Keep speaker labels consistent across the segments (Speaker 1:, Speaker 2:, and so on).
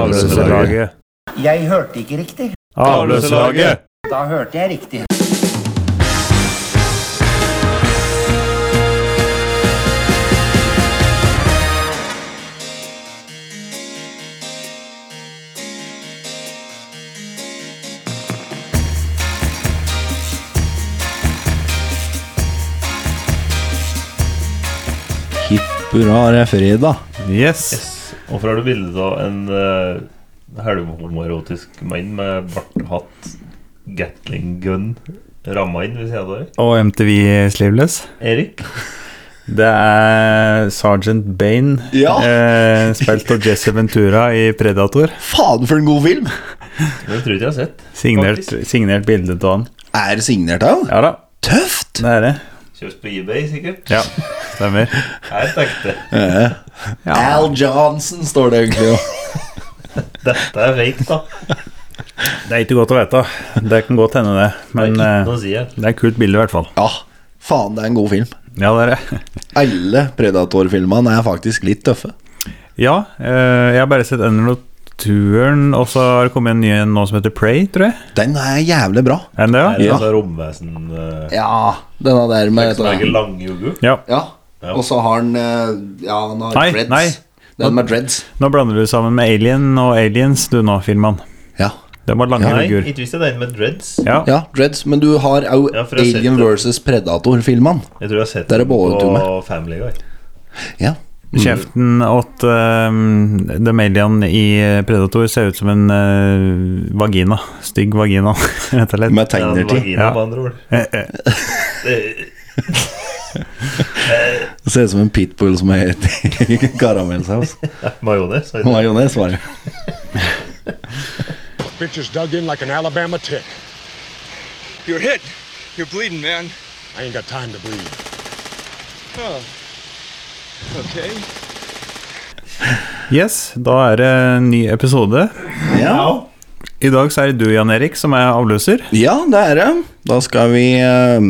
Speaker 1: Avløserlaget.
Speaker 2: Jeg hørte ikke riktig.
Speaker 1: Avløserlaget.
Speaker 2: Da hørte jeg riktig.
Speaker 3: Hipp hurra, det er fredag.
Speaker 1: Yes.
Speaker 4: Hvorfor har du bilde av en uh, halvhomoerotisk mann med bart, hatt, Gatling gun ramma inn ved sida av deg?
Speaker 1: Og MTV Sleeveless.
Speaker 4: Erik?
Speaker 1: Det er Sergeant Bane,
Speaker 3: Ja.
Speaker 1: eh, spilt av Jesse Ventura i Predator.
Speaker 3: Faen for en god film!
Speaker 4: Det tror jeg ikke jeg har sett.
Speaker 1: Signert,
Speaker 4: Faktisk.
Speaker 1: signert bilde av han.
Speaker 3: Er signert av han.
Speaker 1: Ja da,
Speaker 3: Tøft!
Speaker 1: det er det.
Speaker 4: Kjøpt på eBay, sikkert.
Speaker 1: Ja, stemmer.
Speaker 4: Jeg tenkte
Speaker 3: Eh, Al Johnson står det egentlig jo.
Speaker 4: dette er fake, da.
Speaker 1: Det er ikke godt å vite. Det kan godt hende, det.
Speaker 4: Men,
Speaker 1: Men
Speaker 4: det er
Speaker 1: eh,
Speaker 4: ikke noe å si her.
Speaker 1: det er et kult bilde, i hvert fall.
Speaker 3: Ja, faen, det er en god film.
Speaker 1: Ja, det er det.
Speaker 3: Alle Predator-filmene er faktisk litt tøffe.
Speaker 1: Ja, eh, jeg har bare sett Enderlot Turen, og så har det kommet en ny en nå som heter Prey, tror jeg.
Speaker 3: Den er jævlig bra.
Speaker 1: Er den det,
Speaker 4: Er
Speaker 1: ja?
Speaker 4: det
Speaker 3: Ja.
Speaker 4: altså romvesen eh,
Speaker 3: Ja, denne der med
Speaker 4: som er ikke langjogu?
Speaker 1: ja.
Speaker 3: Ja, og så har han eh, Ja, han har
Speaker 1: Nei,
Speaker 3: dreads.
Speaker 1: nei.
Speaker 3: Den med dreads.
Speaker 1: Nå blander du sammen med Alien og Aliens, du nå, filmen.
Speaker 3: Ja.
Speaker 1: Det var lange
Speaker 4: Nei,
Speaker 1: rygger.
Speaker 4: ikke hvis det er den med dreads.
Speaker 1: Ja.
Speaker 3: ja, dreads. Men du har òg
Speaker 4: Ja, for jeg har sett
Speaker 3: Alien
Speaker 4: det.
Speaker 3: versus Predator-filmene.
Speaker 4: Jeg tror jeg har sett
Speaker 3: Der er
Speaker 4: den på
Speaker 3: båtturen.
Speaker 4: Family Guy.
Speaker 3: Ja.
Speaker 1: Kjeften åt um, The Malian i eh, Predator ser ut som en eh, vagina. Stygg vagina, rett og slett.
Speaker 3: Med
Speaker 4: Ja, en
Speaker 3: tegnertid.
Speaker 4: vagina,
Speaker 1: Ja.
Speaker 4: med andre ord.
Speaker 1: Eh, eh,
Speaker 4: Det-
Speaker 3: Det ser ut som en pitbull som er i karamellsaus.
Speaker 4: Majones. har jeg ikke-
Speaker 3: Majones, var det.
Speaker 5: Bitch is dug in like an Alabama tick.
Speaker 6: You're hit. You're bleeding, man.
Speaker 5: I ain't got time to breathe.
Speaker 6: Oh. Okay.
Speaker 1: Yes, da er det en ny episode.
Speaker 3: Ja.
Speaker 1: I dag så er det du, Jan Erik, som er avløser.
Speaker 3: ja, det er det. Da skal vi eh,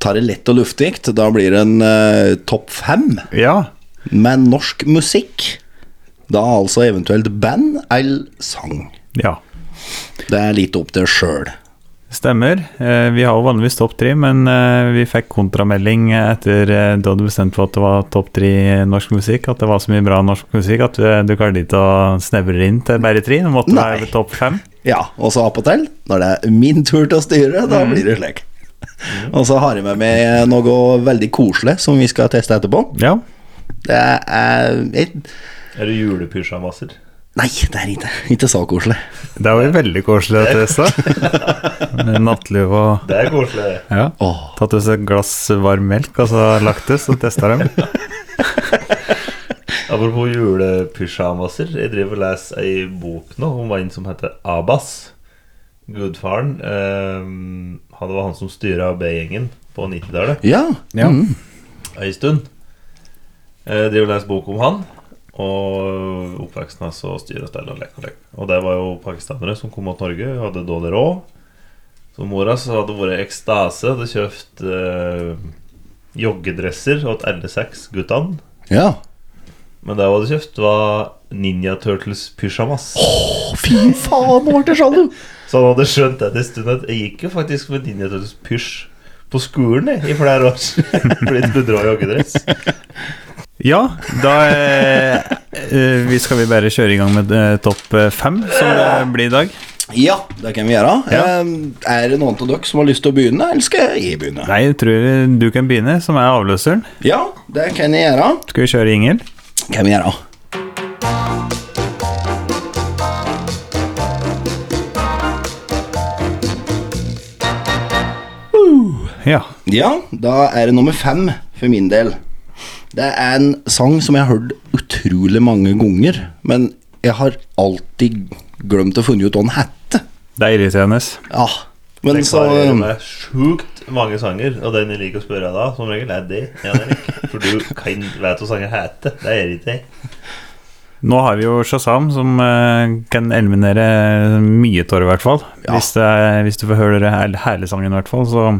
Speaker 3: ta det lett og luftig. Da blir det en eh, topp fem
Speaker 1: Ja.
Speaker 3: med norsk musikk. Da altså eventuelt band eller sang.
Speaker 1: ja.
Speaker 3: Det er litt opp til sjøl.
Speaker 1: Stemmer. Eh, vi har jo vanligvis topp tre, men eh, vi fikk kontramelding etter eh, da du bestemte for at det var topp tre norsk musikk, at det var så mye bra norsk musikk at eh, du klarte ikke å snevre det inn til bare tre. Det måtte
Speaker 3: Nei.
Speaker 1: være topp fem.
Speaker 3: Ja, og så appåtil, når det er min tur til å styre, da blir det slik. Og så har jeg med meg noe veldig koselig som vi skal teste etterpå.
Speaker 1: Ja.
Speaker 3: Det er eh, et
Speaker 4: Er det julepysjamaser?
Speaker 3: Nei, det er ikke, ikke så koselig.
Speaker 1: Det var jo veldig koselig at det sa. Nattliv og
Speaker 4: Det er koselig. det.
Speaker 1: ja.
Speaker 3: Åh,
Speaker 1: Tatt oss et glass varm melk, og så lagt det, så testa dem.
Speaker 4: Apropos julepysjamaser. Jeg driver og leser ei bok nå om en som heter Abbas. Gudfaren. ehm, han det var han som styra B-gjengen på 90-tallet
Speaker 3: Ja.
Speaker 1: Ja.
Speaker 3: Mm.
Speaker 4: ei stund. Eh, Jeg driver og leser bok om han. Og oppveksten hans og styre og stelle og lek og lek. Og det var jo pakistanere som kom mot Norge. Hadde dårlig råd. Så mora så hadde vært i ekstase. Hadde kjøpt eh, joggedresser åt alle seks guttene.
Speaker 3: ja.
Speaker 4: Men det hun hadde kjøpt, var Ninja Turtles pysjamas.
Speaker 3: Å, fy faen, nå ble det sånn!
Speaker 4: Så han hadde skjønt det en stund at jeg gikk jo faktisk med Ninja Turtles pysj på skolen jeg, i flere år. Blitt bedra i joggedress.
Speaker 1: Ja, da eh, eh, vi skal vi bare kjøre i gang med eh, topp eh, fem, som det blir i dag.
Speaker 3: Ja, det kan vi gjøre.
Speaker 1: Ja.
Speaker 3: Ehm, Er det noen av dere som har lyst til å begynne, eller skal jeg begynne?
Speaker 1: Nei, jeg tror du kan begynne, som er avløseren.
Speaker 3: Ja, det kan jeg gjøre.
Speaker 1: Skal vi kjøre Ingel?
Speaker 3: Kan vi gjøre.
Speaker 1: Ja.
Speaker 3: Ja, da er det nummer fem for min del. Det er en sang som jeg har hørt utrolig mange ganger, men jeg har alltid glemt å finne ut hva den hette.
Speaker 1: Det er irriterende.
Speaker 3: Ja, men
Speaker 4: Jeg
Speaker 3: så
Speaker 4: klarer meg sjukt mange sanger, og den jeg liker å spørre da, som regel, er det. Jan Erik. For du kan vet hva sanger heter. Det er ikke jeg.
Speaker 1: Nå har vi jo Shazam, som eh, kan eliminere mye tårer, i hvert fall.
Speaker 3: Ja.
Speaker 1: Hvis, det er, hvis du får høre det her- herlige sangen, i hvert fall, så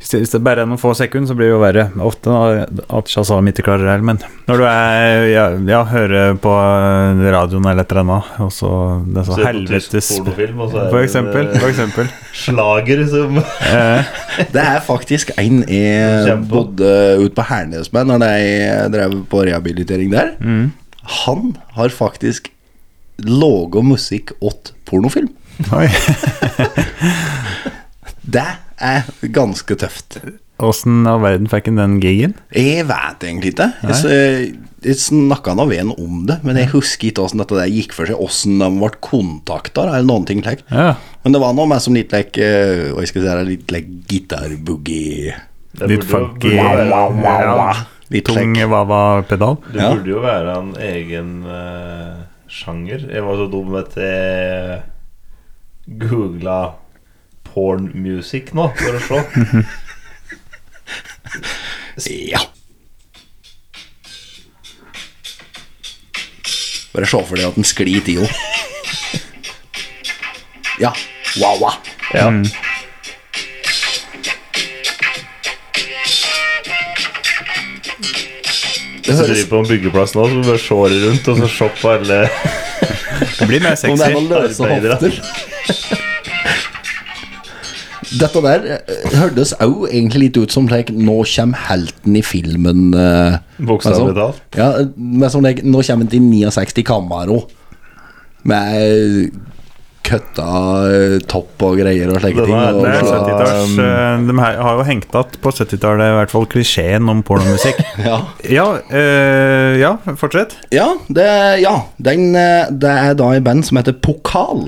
Speaker 1: Hvis det bare er noen få sekunder, så blir det jo verre. Ofte da, at Shazam ikke klarer det, men når du er ja, ja, hører på eh, radioen eller et eller annet, og så det er så
Speaker 4: Se på tysk
Speaker 1: helvetes
Speaker 4: pornofilm, og så er
Speaker 1: For
Speaker 4: det-
Speaker 1: eksempel. For eksempel. Eh,
Speaker 4: Slager som
Speaker 3: Det er faktisk en jeg
Speaker 4: Kjempe.
Speaker 3: bodde ute på Hernes med Når jeg drev på rehabilitering der. Han har faktisk laga musikk åt pornofilm.
Speaker 1: Oi.
Speaker 3: Det er ganske tøft.
Speaker 1: Åssen av verden fikk han den gigen?
Speaker 3: Jeg vet egentlig ikke. Jeg, s- jeg snakka nå ved en om det, men jeg husker ikke åssen dette der gikk for seg, åssen de ble kontakta, eller noen ting slik.
Speaker 1: Ja.
Speaker 3: Men det var noe med som litt like, eh, hva skal jeg si, det er litt like gitarboogie
Speaker 4: Det
Speaker 1: Litt
Speaker 4: burde jo-
Speaker 1: funky
Speaker 4: burde jo være-
Speaker 1: ja,
Speaker 3: Litt
Speaker 1: Tung
Speaker 3: like-
Speaker 1: wava-pedal.
Speaker 4: Det
Speaker 3: Ja.
Speaker 4: burde jo være en egen eh, sjanger. Jeg var så dum at jeg googla porn music nå, for å se.
Speaker 3: Ja. Bare se for deg at den sklir i tida. Ja. Wawa.
Speaker 4: Ja.
Speaker 3: Det
Speaker 4: Så
Speaker 3: høres
Speaker 4: driver på en byggeplass nå, så vi bare ser rundt og så ser på alle
Speaker 1: Det blir mer
Speaker 3: Om det er noen
Speaker 1: sexy.
Speaker 3: løse
Speaker 4: arbeidere.
Speaker 3: hofter. Dette der eh, hørtes òg egentlig litt ut som like, Nå kommer helten i filmen. eh,
Speaker 4: Bokstavelig
Speaker 3: altså.
Speaker 4: talt.
Speaker 3: Ja, men som like, Nå kommer han til 69 Camaro. Med eh, køtta eh, topp og greier og slike
Speaker 4: Denne
Speaker 3: ting.
Speaker 4: er-
Speaker 3: og
Speaker 1: Det er
Speaker 3: så-
Speaker 1: 70-talls, eh, de her har jo hengt igjen på 70-tallet i hvert fall klisjeen om pornomusikk.
Speaker 3: ja.
Speaker 1: Ja, eh, ja, fortsett.
Speaker 3: Ja, det, ja den, eh, det er da et band som heter Pokal.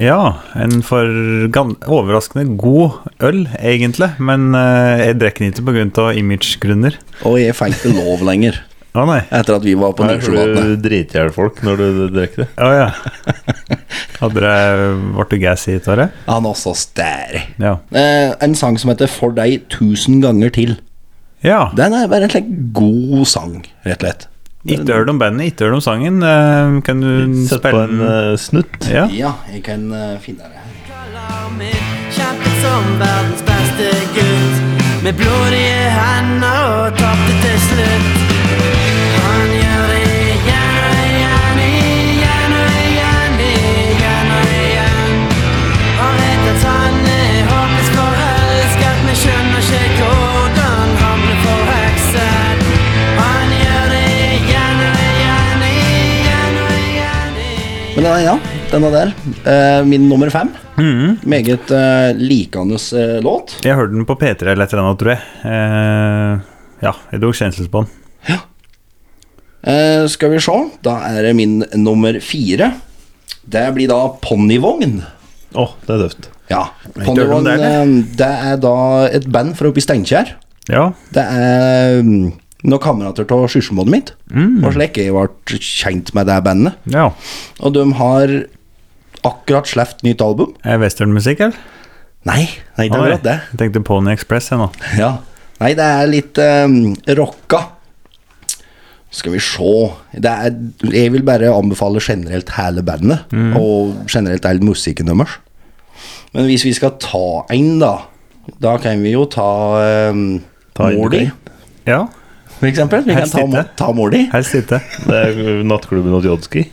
Speaker 1: Ja, en for gan overraskende god øl, egentlig. Men eh, jeg drikker den ikke pga. imagegrunner.
Speaker 3: Og jeg fikk ikke lov lenger
Speaker 1: Å nei.
Speaker 3: etter at vi var på
Speaker 4: Her får
Speaker 3: Nordsjøvatnet.
Speaker 4: du drite i hjel folk når du drikker det.
Speaker 1: Å ja. Hadde dere vært gassy i tåret?
Speaker 3: Han er så stær.
Speaker 1: Ja.
Speaker 3: Eh, en sang som heter For deg tusen ganger til.
Speaker 1: ja.
Speaker 3: Den er bare en slik god sang, rett og slett.
Speaker 1: Ikke hør om bandet, ikke hør om sangen. eh, kan du
Speaker 4: Sett på
Speaker 1: spille
Speaker 4: en
Speaker 1: den?
Speaker 4: eh, snutt.
Speaker 1: Ja.
Speaker 3: Ja, jeg kan eh, finne det her.
Speaker 7: Kjempet som verdens beste gutt Med blodige hender og tapte til slutt Han gjør det igjen og igjen, igjen og igjen, igjen og igjen Han vet at han er håpløst forelsket Men skjønner ikke hvordan han ble forhekset Han gjør det igjen og igjen, igjen og igjen, igjen
Speaker 3: Men denne, ja, denne der. eh, min nummer fem.
Speaker 1: Mhm.
Speaker 3: Meget eh, likende eh, låt.
Speaker 1: Jeg hørte den på P3 eller et eller annet, tror jeg. Eh, ja, jeg dro kjensel på den.
Speaker 3: Eh, skal vi se, da er det min nummer fire. Det blir da Ponnivogn.
Speaker 4: Å, det er døvt.
Speaker 3: Ja.
Speaker 1: ikke hørt om
Speaker 3: Ponnivogn,
Speaker 1: det, eller?
Speaker 3: eh, det er da et band fra oppe i Steinkjer.
Speaker 1: Ja.
Speaker 3: Det er mm, noen kamerater av sysselmålet mitt. Og slik jeg ble kjent med det bandet.
Speaker 1: ja.
Speaker 3: Og de har akkurat sluppet nytt album.
Speaker 1: Er det westernmusikk, eller?
Speaker 3: Nei, nei, det er akkurat det.
Speaker 1: Jeg tenkte Pony Express, jeg nå.
Speaker 3: Ja. Nei, det er litt eh, rocka. Skal vi se det er, Jeg vil bare anbefale generelt hele bandet, og generelt all musikken deres. Men hvis vi skal ta en, da Da kan vi jo ta um,
Speaker 4: Ta en,
Speaker 3: Mordi,
Speaker 4: ok.
Speaker 1: Ja,
Speaker 3: for eksempel. Vi kan
Speaker 1: Helst
Speaker 3: ta,
Speaker 1: ikke.
Speaker 3: Mo- ta Mordi.
Speaker 1: helst ikke.
Speaker 4: Det er nattklubben hos Jodski.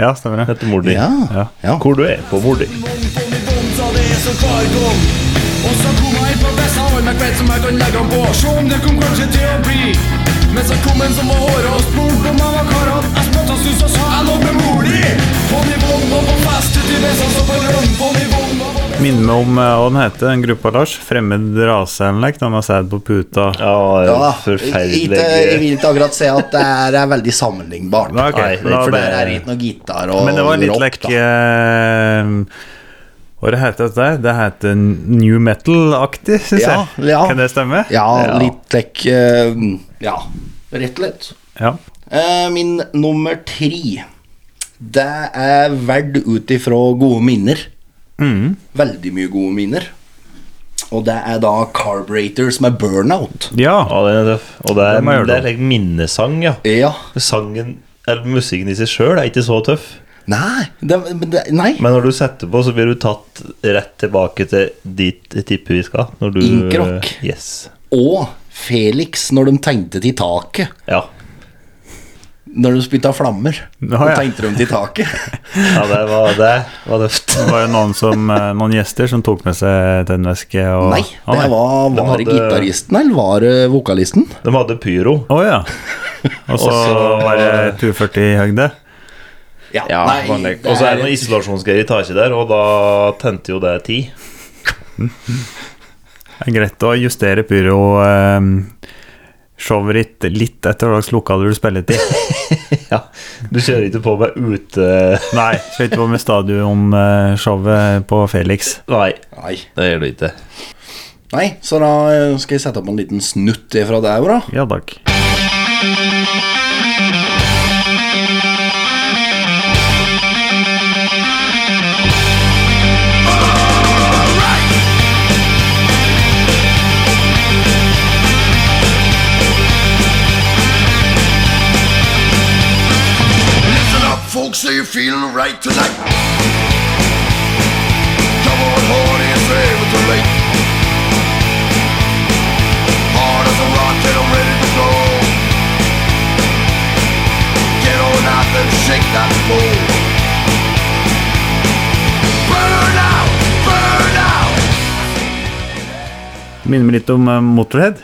Speaker 1: Ja, stemmer det.
Speaker 4: Heter mor di.
Speaker 3: Ja.
Speaker 1: Ja.
Speaker 3: ja.
Speaker 4: Hvor du er på mor di.
Speaker 1: Minner meg om eh, hva den heter, den gruppa, Lars. Fremmed rase eller noe. like, Den har sæd på puta.
Speaker 4: Ja,
Speaker 3: Ja, da.
Speaker 4: forferdelig
Speaker 3: Ikke, jeg vil ikke akkurat si at det er, er veldig sammenlignbart.
Speaker 1: Nei, ok.
Speaker 3: Nei,
Speaker 1: Da
Speaker 3: for
Speaker 1: det-
Speaker 3: der er det ikke noe gitar og
Speaker 1: Men det var litt
Speaker 3: rock,
Speaker 1: like
Speaker 3: da.
Speaker 1: eh, Hva det heter det der? Det heter new metal-aktig, syns
Speaker 3: Ja,
Speaker 1: jeg.
Speaker 3: ja.
Speaker 1: Kan det stemme?
Speaker 3: Ja, litt like eh, Ja, rett og slett.
Speaker 1: Ja.
Speaker 3: Eh, min nummer tre Det er verd ut ifra gode minner.
Speaker 1: Mm.
Speaker 3: Veldig mye gode minner. Og det er da Carburetors med burnout.
Speaker 1: ja.
Speaker 4: Ja, den er tøff. Og det er,
Speaker 1: Den må jeg høre
Speaker 4: det er like minnesang, ja.
Speaker 3: Ja,
Speaker 4: Sangen, eller musikken i seg sjøl, er ikke så tøff.
Speaker 3: Nei, det, men det, nei.
Speaker 4: Men når du setter på, så blir du tatt rett tilbake til dit jeg tipper vi skal. Når du
Speaker 3: Inkrock.
Speaker 4: Yes.
Speaker 3: Og Felix, når de tegnte til taket.
Speaker 4: Ja.
Speaker 3: Når de spytta flammer.
Speaker 1: Ja,
Speaker 3: Da
Speaker 1: ja.
Speaker 3: tegnte de til taket.
Speaker 4: ja, det var det. var døft.
Speaker 1: Det var jo noen, som, eh, noen gjester som tok med seg tennvæske og
Speaker 3: Nei,
Speaker 1: Å,
Speaker 3: det var,
Speaker 4: De
Speaker 3: var det
Speaker 4: hadde-
Speaker 3: gitaristen, eller var det vokalisten?
Speaker 4: De hadde pyro.
Speaker 1: Å ja. Og så
Speaker 4: Også-
Speaker 1: var det 240 i høgde.
Speaker 4: Ja, vanlig. Og så er det noe isolasjonsgreier i taket der, og da tente jo det ti.
Speaker 1: Det er greit å justere pyro eh, showet ditt litt etter hva slags lokaler du spiller til.
Speaker 4: Ja. Du kjører ikke på med ute...
Speaker 1: Nei, skal ikke på med stadionshowet på Felix.
Speaker 4: Nei,
Speaker 3: Nei.
Speaker 4: det gjør du ikke.
Speaker 3: Nei, så da eh, skal jeg sette opp en liten snutt fra der, da.
Speaker 1: Ja takk.
Speaker 8: Listen up, folks, so you're feeling right tonight. Come on, horny, it's ever too late. Hard as a rock, and I'm ready to go. Get on out and shake that pole. Burn out, burn out.
Speaker 1: Minner meg litt om eh, Motorhead.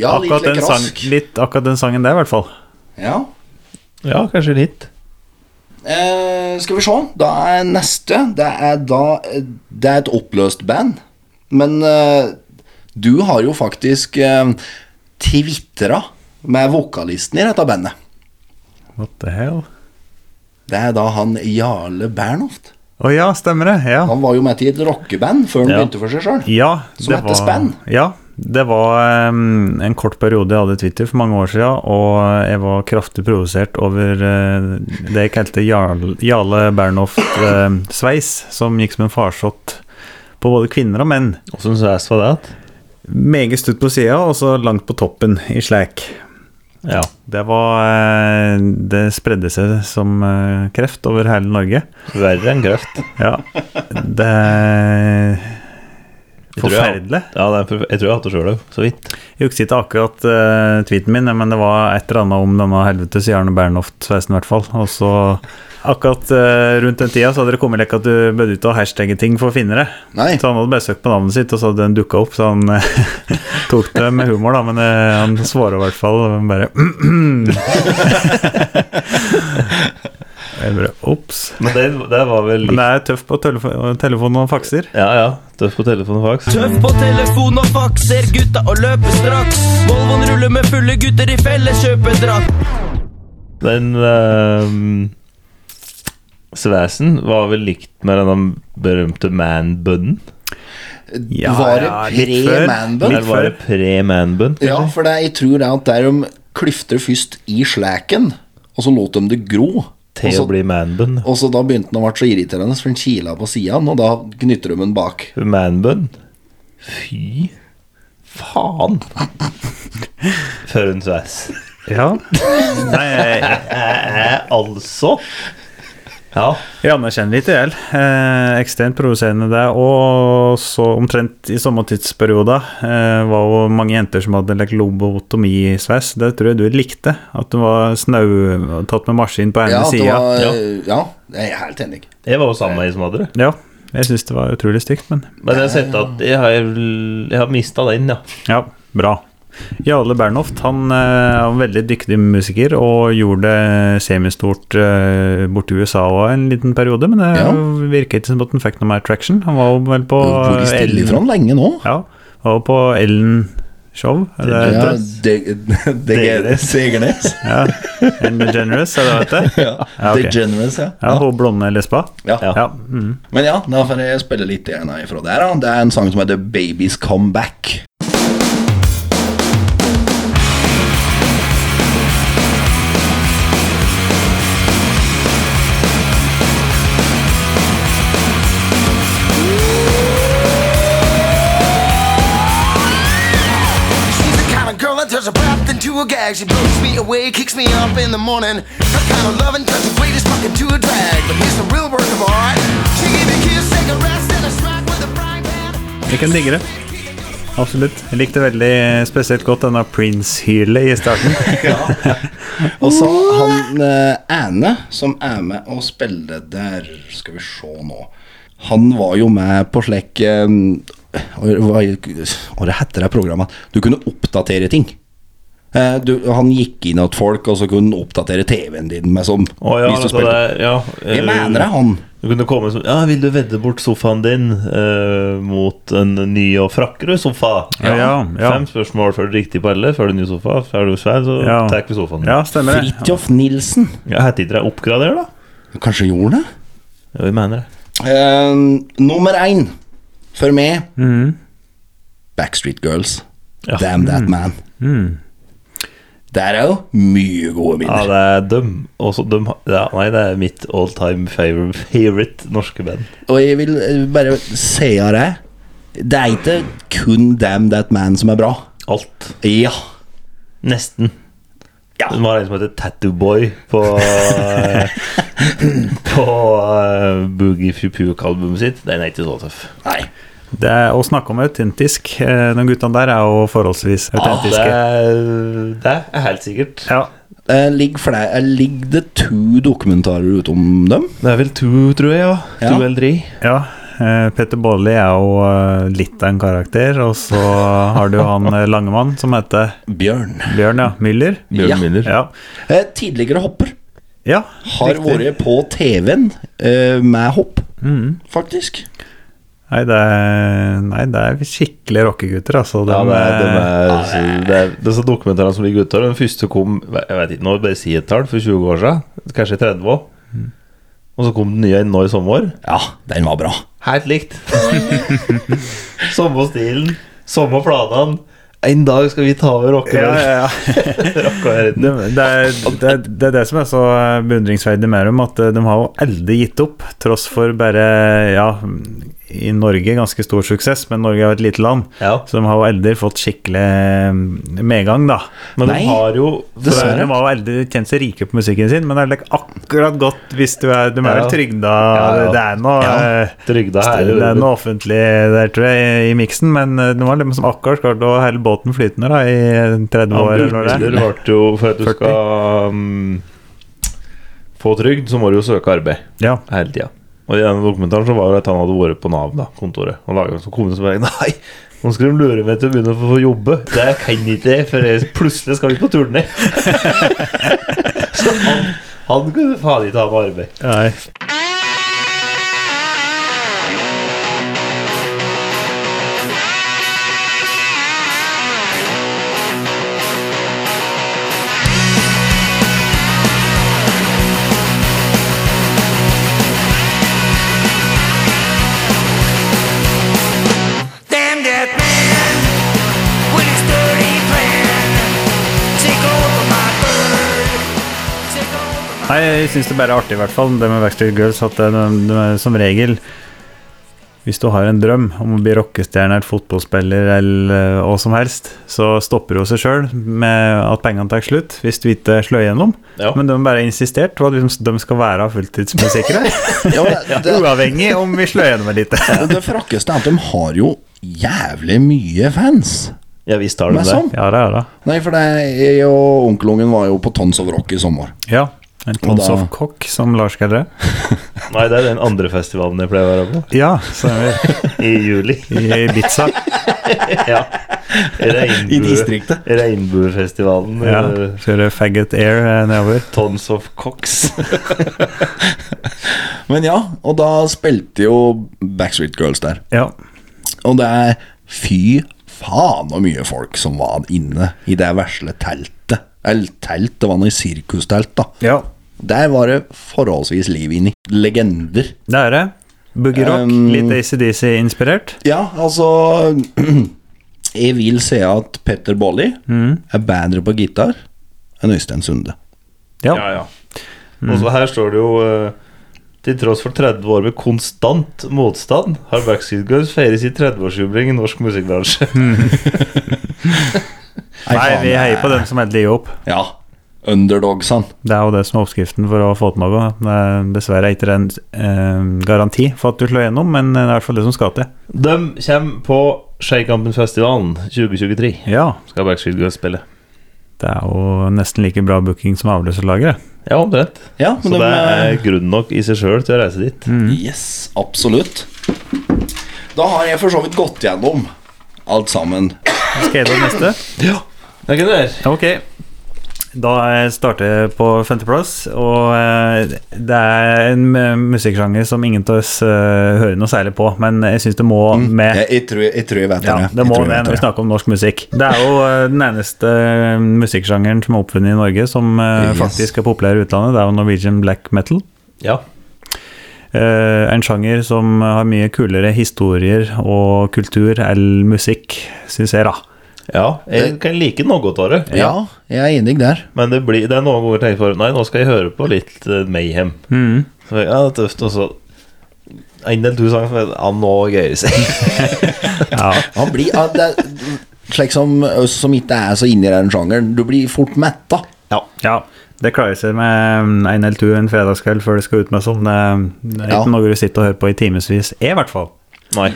Speaker 3: Ja,
Speaker 1: Akkurat den, sang,
Speaker 3: rask.
Speaker 1: litt, akkurat den sangen der, i hvert fall.
Speaker 3: Ja.
Speaker 4: Ja, kanskje litt.
Speaker 3: Eh, skal vi se. Da er neste Det er da eh, Det er et oppløst band. Men eh, du har jo faktisk eh, tvitra med vokalisten i dette bandet.
Speaker 1: What the hell?
Speaker 3: Det er da han Jarle Bernhoft.
Speaker 1: Å ja, stemmer det. Ja.
Speaker 3: Han var jo med til et rockeband før han
Speaker 4: Ja.
Speaker 3: begynte for seg sjøl.
Speaker 1: Ja,
Speaker 3: Som heter Span.
Speaker 1: Ja, det var em, en kort periode jeg hadde Twitter for mange år siden, og jeg var kraftig provosert over eh, det jeg kalte Jarl, Jarle Bernhoft-sveis, som gikk som en farsott på både kvinner og menn.
Speaker 4: Åssen sveis var det? at?
Speaker 1: Meget stutt på sida, og så langt på toppen i slæk.
Speaker 4: Ja.
Speaker 1: Det var eh, Det spredde seg som eh, kreft over hele Norge.
Speaker 4: Verre enn kreft.
Speaker 1: Ja. Det
Speaker 4: Jeg tror jeg-
Speaker 1: Forferdelig.
Speaker 4: Ja, det er, forfe- jeg tror jeg har hatt det sjøl òg, så vidt.
Speaker 1: Jeg husker ikke akkurat eh, tweeten min, men det var et eller annet om denne helvetes Jarne Bernhoft-sveisen i hvert fall. Og så akkurat eh, rundt den tida så hadde det kommet lekk at du bød ut å hashtagge ting for å finne det.
Speaker 3: Nei.
Speaker 1: Så han hadde bare søkt på navnet sitt, og så hadde den dukka opp, så han eh, tok det med humor, da. Men eh, han svarer i hvert fall og bare Jeg bare Ops.
Speaker 4: Men det, det var vel
Speaker 1: Men det er tøft på telefo- telefon og fakser.
Speaker 4: Ja, ja. Tøff på telefonen, faktisk.
Speaker 7: Tøff på telefon og fax, ser gutta og løper straks. Volvoen ruller med fulle gutter i felleskjøpedrakt.
Speaker 4: Den ehm, svesen var vel likt med den berømte man-bunnen?
Speaker 1: Ja,
Speaker 3: var det
Speaker 1: ja, litt før.
Speaker 3: pre-manbun?
Speaker 1: Litt
Speaker 4: Eller var det pre-man-bunn?
Speaker 3: Ja, for det, jeg tror det er at der de klyfter først i slæken, og så lot de det gro. Og
Speaker 4: Til
Speaker 3: så,
Speaker 4: å bli man-bunn.
Speaker 3: og så da begynte den å være så irriterende, for den kila på siden, og da knytter de den bak.
Speaker 4: Man-bunn? Fy faen! For en sveis.
Speaker 1: Ja. Nei, jeg,
Speaker 4: Eh, altså Ja.
Speaker 1: Jeg anerkjenner litt i hjel. Eh, ekstremt provoserende det. Og så omtrent i samme tidsperiode eh, var jo mange jenter som hadde like, lobotomisveis. Det tror jeg du likte. At det var snau tatt med maskin
Speaker 3: Ja,
Speaker 1: på ene
Speaker 3: at det
Speaker 1: sida.
Speaker 3: var, eh,
Speaker 4: Ja.
Speaker 3: ja, jeg er helt enig.
Speaker 4: Jeg var jo sammen med ei som hadde det.
Speaker 1: Ja, jeg syns det var utrolig stygt, men
Speaker 4: Men jeg har sett at jeg har, jeg har mista den, ja.
Speaker 1: ja, bra. Jarle Bernhoft han eh, var en veldig dyktig musiker og gjorde det semistort eh, borti USA òg en liten periode, men det
Speaker 3: Ja.
Speaker 1: virket ikke som at han fikk noe mer traction. Han var jo vel på
Speaker 3: Hvor de stiller fra den lenge nå.
Speaker 1: Ja, og på Ellen Show eller,
Speaker 3: Ja, de, de, Degernes.
Speaker 1: ja. Ellen DeGeneres, er det hva det heter? Ja, ok.
Speaker 3: Degeneres, ja.
Speaker 1: Ja, hun blonde lesba.
Speaker 3: Ja.
Speaker 1: Ja, mm.
Speaker 3: Men ja, da får jeg spille litt igjen ifra der. Da. Det er en sang som heter Babies Come Back.
Speaker 8: She's the kind of girl that turns her breath into a gag. She blows me away, kicks me up in the morning. Her
Speaker 9: kind of loving doesn't wait is fucking to a drag. But here's the real work of art. She gave me a kiss, take a rest, and a strike with a frying pan.
Speaker 1: Jeg kan digge det. Absolutt. Jeg likte veldig spesielt godt denne Prince-hylet i starten.
Speaker 3: Og så han eh, Ane, som er med og spiller der Skal vi se nå Han var jo med på slik eh, Hva hva det heter det programmet? Du kunne oppdatere ting. Eh, du, han gikk inn hos folk, og så kunne han oppdatere TV-en din med sånn.
Speaker 4: Å ja,
Speaker 3: hvis du
Speaker 4: altså det
Speaker 3: spilte.
Speaker 4: er ja,
Speaker 3: Jeg
Speaker 4: eh,
Speaker 3: mener det, han.
Speaker 4: Du kunne komme som Ja, vil du vedde bort sofaen din eh, mot en ny og frakkere sofa?
Speaker 1: Ja, ja, ja.
Speaker 4: Fem spørsmål før du er riktig på alle. Før du er ny sofa. Er du svær, så
Speaker 1: Ja.
Speaker 4: tar vi sofaen.
Speaker 1: Ja, stemmer det.
Speaker 3: Fridtjof Nilsen.
Speaker 4: Jeg heter ikke det oppgrader, da?
Speaker 3: Kanskje gjorde han det?
Speaker 4: Ja, vi mener det.
Speaker 3: Eh, nummer én for meg Backstreet Girls.
Speaker 4: Mm. Ja. Mm.
Speaker 3: Damn That Man. Der er jo mye gode
Speaker 4: Ja,
Speaker 3: minner.
Speaker 4: det er dem. Også dem ja, nei, det er mitt all time favorite, favorite norske band.
Speaker 3: Og jeg vil eh, bare si av det Det er ikke kun Damn That Man som er bra.
Speaker 4: Alt.
Speaker 3: Ja.
Speaker 4: Nesten.
Speaker 3: Ja.
Speaker 4: Det var en som heter Tattoo Boy på eh, På eh, Boogie Fupuke-albumet sitt. Den er ikke så tøff.
Speaker 3: Nei.
Speaker 1: Det er å snakke om autentisk. eh, De guttene der er jo forholdsvis
Speaker 4: Ah, Det
Speaker 1: autentiske.
Speaker 4: er, det er helt sikkert.
Speaker 1: Ja,
Speaker 3: Eh, Ligger fle- eh, ligger det to dokumentarer ute om dem?
Speaker 4: Det er vel to, tror jeg. ja.
Speaker 3: Ja.
Speaker 4: To eller tre.
Speaker 1: ja. Eh, Petter Bolli er jo eh, litt av en karakter. Og så har du jo han eh, Langemann som heter
Speaker 3: Bjørn.
Speaker 1: Bjørn, ja. Müller.
Speaker 3: Bjørn Ja. Müller.
Speaker 1: Ja.
Speaker 3: Eh, tidligere hopper.
Speaker 1: ja.
Speaker 3: Har vært på TV-en eh, med hopp,
Speaker 4: Mm.
Speaker 3: faktisk.
Speaker 1: Nei, det er, nei, det er skikkelige rockegutter, altså. De,
Speaker 4: Ja, det er, de
Speaker 1: eh,
Speaker 4: er, så, det er disse dokumentarene som ligger ute her, Den første kom jeg vet ikke, nå vil jeg bare si et tall, for 20 år siden. Kanskje 30 òg.
Speaker 1: Mm.
Speaker 4: Og så kom den nye inn nå i sommer.
Speaker 3: Ja, den var bra.
Speaker 4: Helt likt. samme stilen, samme planene. En dag skal vi ta over
Speaker 1: ja,
Speaker 4: rockeverdenen.
Speaker 1: ja, ja. De, det, er, det, er, det er det som er så eh, beundringsverdig med dem, at eh, de har jo aldri gitt opp, tross for bare Ja, i Norge ganske stor suksess, men Norge er jo et lite land,
Speaker 4: Ja.
Speaker 1: så de har jo aldri fått skikkelig eh, medgang, da.
Speaker 4: Men
Speaker 3: Nei.
Speaker 4: de har jo
Speaker 1: De
Speaker 4: for-
Speaker 1: har jo aldri tjent seg rike på musikken sin, men det er like akkurat godt hvis du er De er
Speaker 4: Ja.
Speaker 1: vel trygda,
Speaker 4: Ja, ja.
Speaker 1: det er noe
Speaker 4: Ja.
Speaker 1: eh,
Speaker 4: Trygda her.
Speaker 1: Det er noe offentlig der, tror jeg, i miksen, men eh, det var liksom akkurat klart å holde båten flytende da, i 30
Speaker 4: Ja,
Speaker 1: år.
Speaker 4: Bjørn
Speaker 1: eller når det
Speaker 4: Müller
Speaker 1: er.
Speaker 4: ble jo For at du
Speaker 1: 40.
Speaker 4: skal um, få trygd, så må du jo søke arbeid
Speaker 1: Ja.
Speaker 4: hele tida. Og i denne dokumentaren så var det at han hadde vært på Nav, da, kontoret. Og laget, så kom det som bare Nei, nå skal de lure meg til å begynne å få jobbe. Det kan jeg ikke, for jeg, plutselig skal vi på turné. så han, han kunne faen ikke ha med arbeid.
Speaker 1: Nei.
Speaker 9: Damn that man with his dirty plan. Take over my bird. Take over my
Speaker 1: Nei, jeg syns det bare er artig, i hvert fall, det med Backstreet Girls, at det, de, de, er som regel hvis du har en drøm om å bli rockestjerne, eller fotballspiller eller eh, hva som helst, så stopper det jo seg sjøl med at pengene tar slutt hvis du ikke slår igjennom.
Speaker 4: Ja.
Speaker 1: Men de bare insisterte på at de- de skal være fulltidsmusikere.
Speaker 3: Ja, men det, det,
Speaker 1: Uavhengig om vi slår igjennom litt.
Speaker 3: det, det frakkeste er at de har jo jævlig mye fans.
Speaker 4: Ja, visst har de
Speaker 3: Men
Speaker 4: det.
Speaker 3: sånn.
Speaker 1: Ja, det er det.
Speaker 3: Nei, for det, jeg og onkelungen var jo på Tons of Rock i sommer.
Speaker 1: Ja. En Tons
Speaker 3: da-
Speaker 1: of Cock, som Lars kaller det.
Speaker 4: Nei, det er den andre festivalen jeg pleier å være på.
Speaker 1: Ja, stemmer.
Speaker 4: I juli.
Speaker 1: I Ibiza.
Speaker 4: Ja. Regnbue,
Speaker 3: I distriktet.
Speaker 4: Regnbuefestivalen.
Speaker 1: Ja,
Speaker 4: eh,
Speaker 1: Kjøre Faggot Air eh, nedover.
Speaker 4: Tons of Cox.
Speaker 3: Men ja, og da spilte jo Backstreet Girls der.
Speaker 1: Ja.
Speaker 3: Og det er fy faen så mye folk som var inne i det vesle teltet. Eller telt, det var noe sirkustelt, da.
Speaker 1: ja.
Speaker 3: Der var det forholdsvis liv inni. Legender.
Speaker 1: Det er det. Boogie Rock,
Speaker 3: Um,
Speaker 1: litt ACDC-inspirert.
Speaker 3: Ja, altså Jeg vil si at Petter Bolli er bedre på gitar enn Øystein Sunde.
Speaker 1: Ja.
Speaker 4: Ja, ja. Og så her står det jo eh, Til tross for 30 år med konstant motstand, har Backstreet Girls feiret sitt 30-årsjubileum i norsk musikkbransje.
Speaker 1: Nei, vi heier på dem som endelig gir opp.
Speaker 3: Ja. underdogsene.
Speaker 1: Det er jo det som er oppskriften for å få til noe. Det er Dessverre ikke en eh, garanti for at du slår gjennom, men det er i hvert fall det som skal til.
Speaker 4: De kommer på Shakehampen-festivalen 2023.
Speaker 1: Ja,
Speaker 4: Skal Backstreet Girls spille.
Speaker 1: det er jo nesten like bra booking som avløserlageret.
Speaker 4: Ja, omtrent.
Speaker 3: Ja, men
Speaker 4: Så
Speaker 3: de, eh,
Speaker 4: det er grunn nok i seg sjøl til å reise dit.
Speaker 1: Mm.
Speaker 3: Yes, absolutt. Da har jeg for så vidt gått gjennom alt sammen.
Speaker 1: Skal jeg ta neste?
Speaker 4: Det kan du gjøre.
Speaker 1: Ok. Da jeg starter jeg på femteplass, og eh, det er en eh, musikksjanger som ingen av oss eh, hører noe særlig på, men jeg syns det må
Speaker 4: Mm.
Speaker 1: med.
Speaker 3: Jeg, jeg, tror, jeg tror jeg vet det.
Speaker 1: Ja, det
Speaker 3: Jeg
Speaker 1: må
Speaker 3: tror jeg
Speaker 1: det
Speaker 3: vet
Speaker 1: når vi
Speaker 3: det.
Speaker 1: snakker om norsk musikk. Det er jo eh, den eneste eh, musikksjangeren som er oppfunnet i Norge som eh,
Speaker 3: Yes.
Speaker 1: faktisk er populær i utlandet. Det er jo Norwegian black metal.
Speaker 4: Ja.
Speaker 1: Eh, en sjanger som har mye kulere historier og kultur enn musikk, syns jeg, da.
Speaker 4: ja. Jeg kan like noe godt av det.
Speaker 3: Ja, jeg er enig der.
Speaker 4: Men det, blir, det er noen ganger jeg tenker for Nei, nå skal jeg høre på litt eh, Mayhem. Så jeg, ja, det er tøft, og så En del to sanger som heter Ja, nå gøyer det seg.
Speaker 3: Han blir, ja, det, er- slik som oss som ikke er så inni den sjangeren, du blir fort metta.
Speaker 4: Ja.
Speaker 1: Ja, det klarer seg med mm, en eller to en fredagskveld før det skal ut med sånn. Det det er
Speaker 3: Ja.
Speaker 1: ikke noe du sitter og hører på i timevis, jeg i hvert fall.
Speaker 4: Nei.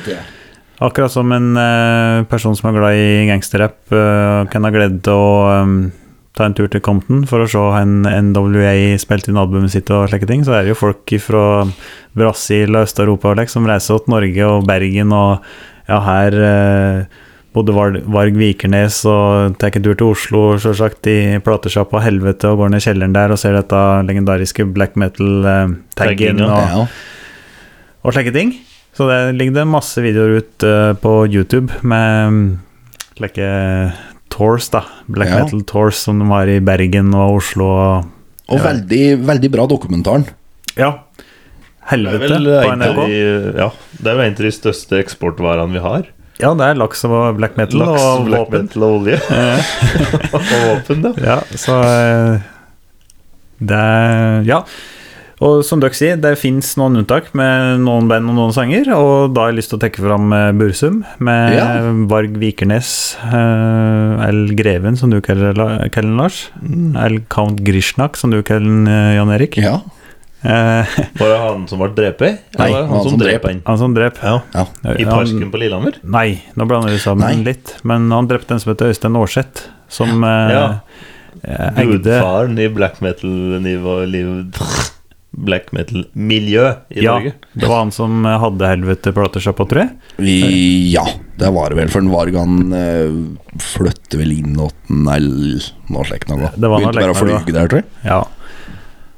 Speaker 1: Akkurat som en eh, person som er glad i gangsterrapp, eh, kan ha glede av å eh, ta en tur til Compton for å se en NWA spilt inn albumet sitt og slike ting, så er det jo folk fra Brasil og Øst-Europa og lek som reiser til Norge og Bergen og ja, her eh, både Var- Varg Vikernes og tar en tur til Oslo, sjølsagt, i platesjappa Helvete og går ned i kjelleren der og ser dette legendariske black metal-taggen.
Speaker 4: Tagginga,
Speaker 1: og
Speaker 3: Ja.
Speaker 1: og slike ting. Så det ligger det masse videoer ut eh, på YouTube med mm, slike tours, da. Black
Speaker 3: Ja.
Speaker 1: metal tours som de har i Bergen og Oslo og
Speaker 3: Og veldig, veldig bra dokumentaren.
Speaker 1: Ja.
Speaker 4: Det er
Speaker 1: Helvete
Speaker 4: vel eh,
Speaker 1: på
Speaker 4: en av
Speaker 1: NRK.
Speaker 4: de, ja, det er jo en av de største eksportvarene vi har.
Speaker 1: Ja, det er laks og black metal
Speaker 4: Laks,
Speaker 1: og
Speaker 4: black
Speaker 1: våpen.
Speaker 4: metal og olje. og våpen, ja.
Speaker 1: Ja, så eh, Det er Ja. Og som dere sier, det fins noen unntak med noen band og noen sanger, og da har jeg lyst til å trekke fram eh, Bursum med
Speaker 3: Ja.
Speaker 1: Varg Vikernes, eh, El Greven, som du kaller la- kaller den, Lars, El Count Grishnak, som du kaller den, eh, Jan Erik.
Speaker 3: Mm. Ja.
Speaker 1: Eh,
Speaker 4: Var det han som var dreper?
Speaker 3: Nei,
Speaker 4: Eller var det han, som drep en?
Speaker 1: han som drep Eh,
Speaker 3: Ja.
Speaker 4: I parken på Lillehammer?
Speaker 1: Nei, nå blander vi sammen litt, men han drepte en som heter Øystein Aarseth, som eh,
Speaker 4: Ja.
Speaker 1: eh, eide
Speaker 4: Gudfaren i black metal-nivå liv- Black metal-miljø i
Speaker 1: Ja,
Speaker 4: Norge.
Speaker 1: det var han som eh, hadde helvete platesjappa, tror jeg.
Speaker 3: Vi, ja, det var det vel, for den Varg han eh, flytter vel inn åtten eller noe slikt noe.
Speaker 1: Det var noe
Speaker 3: Begynte bare å
Speaker 1: slikt noe,
Speaker 3: flyge der, tror jeg.
Speaker 1: Ja.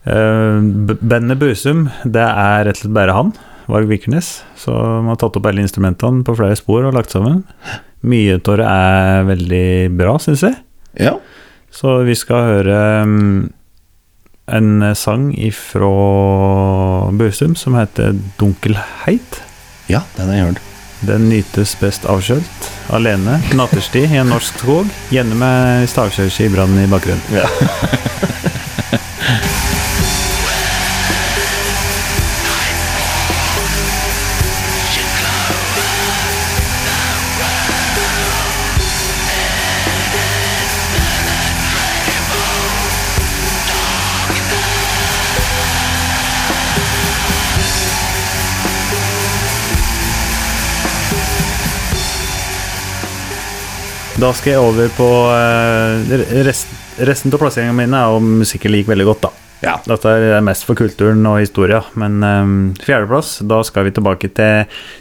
Speaker 1: Eh, B- Bandet Busum, det er rett og slett bare han, Varg Vikernes. Så man har tatt opp alle instrumentene på flere spor og lagt sammen. Mye av det er veldig bra, syns jeg.
Speaker 3: Ja.
Speaker 1: Så vi skal høre mm, en sang ifra Busum som heter 'Dunkelheit'.
Speaker 3: ja, den har jeg hørt.
Speaker 1: Den nytes best avkjølt, alene, natterstid i en norsk skog, gjerne med stavkjørskibrannen i bakgrunnen. Da skal jeg over på eh, rest, Resten av plasseringene mine er jo musikk jeg liker veldig godt, da.
Speaker 3: Ja.
Speaker 1: Dette er mest for kulturen og historia, men eh, fjerdeplass, da skal vi tilbake til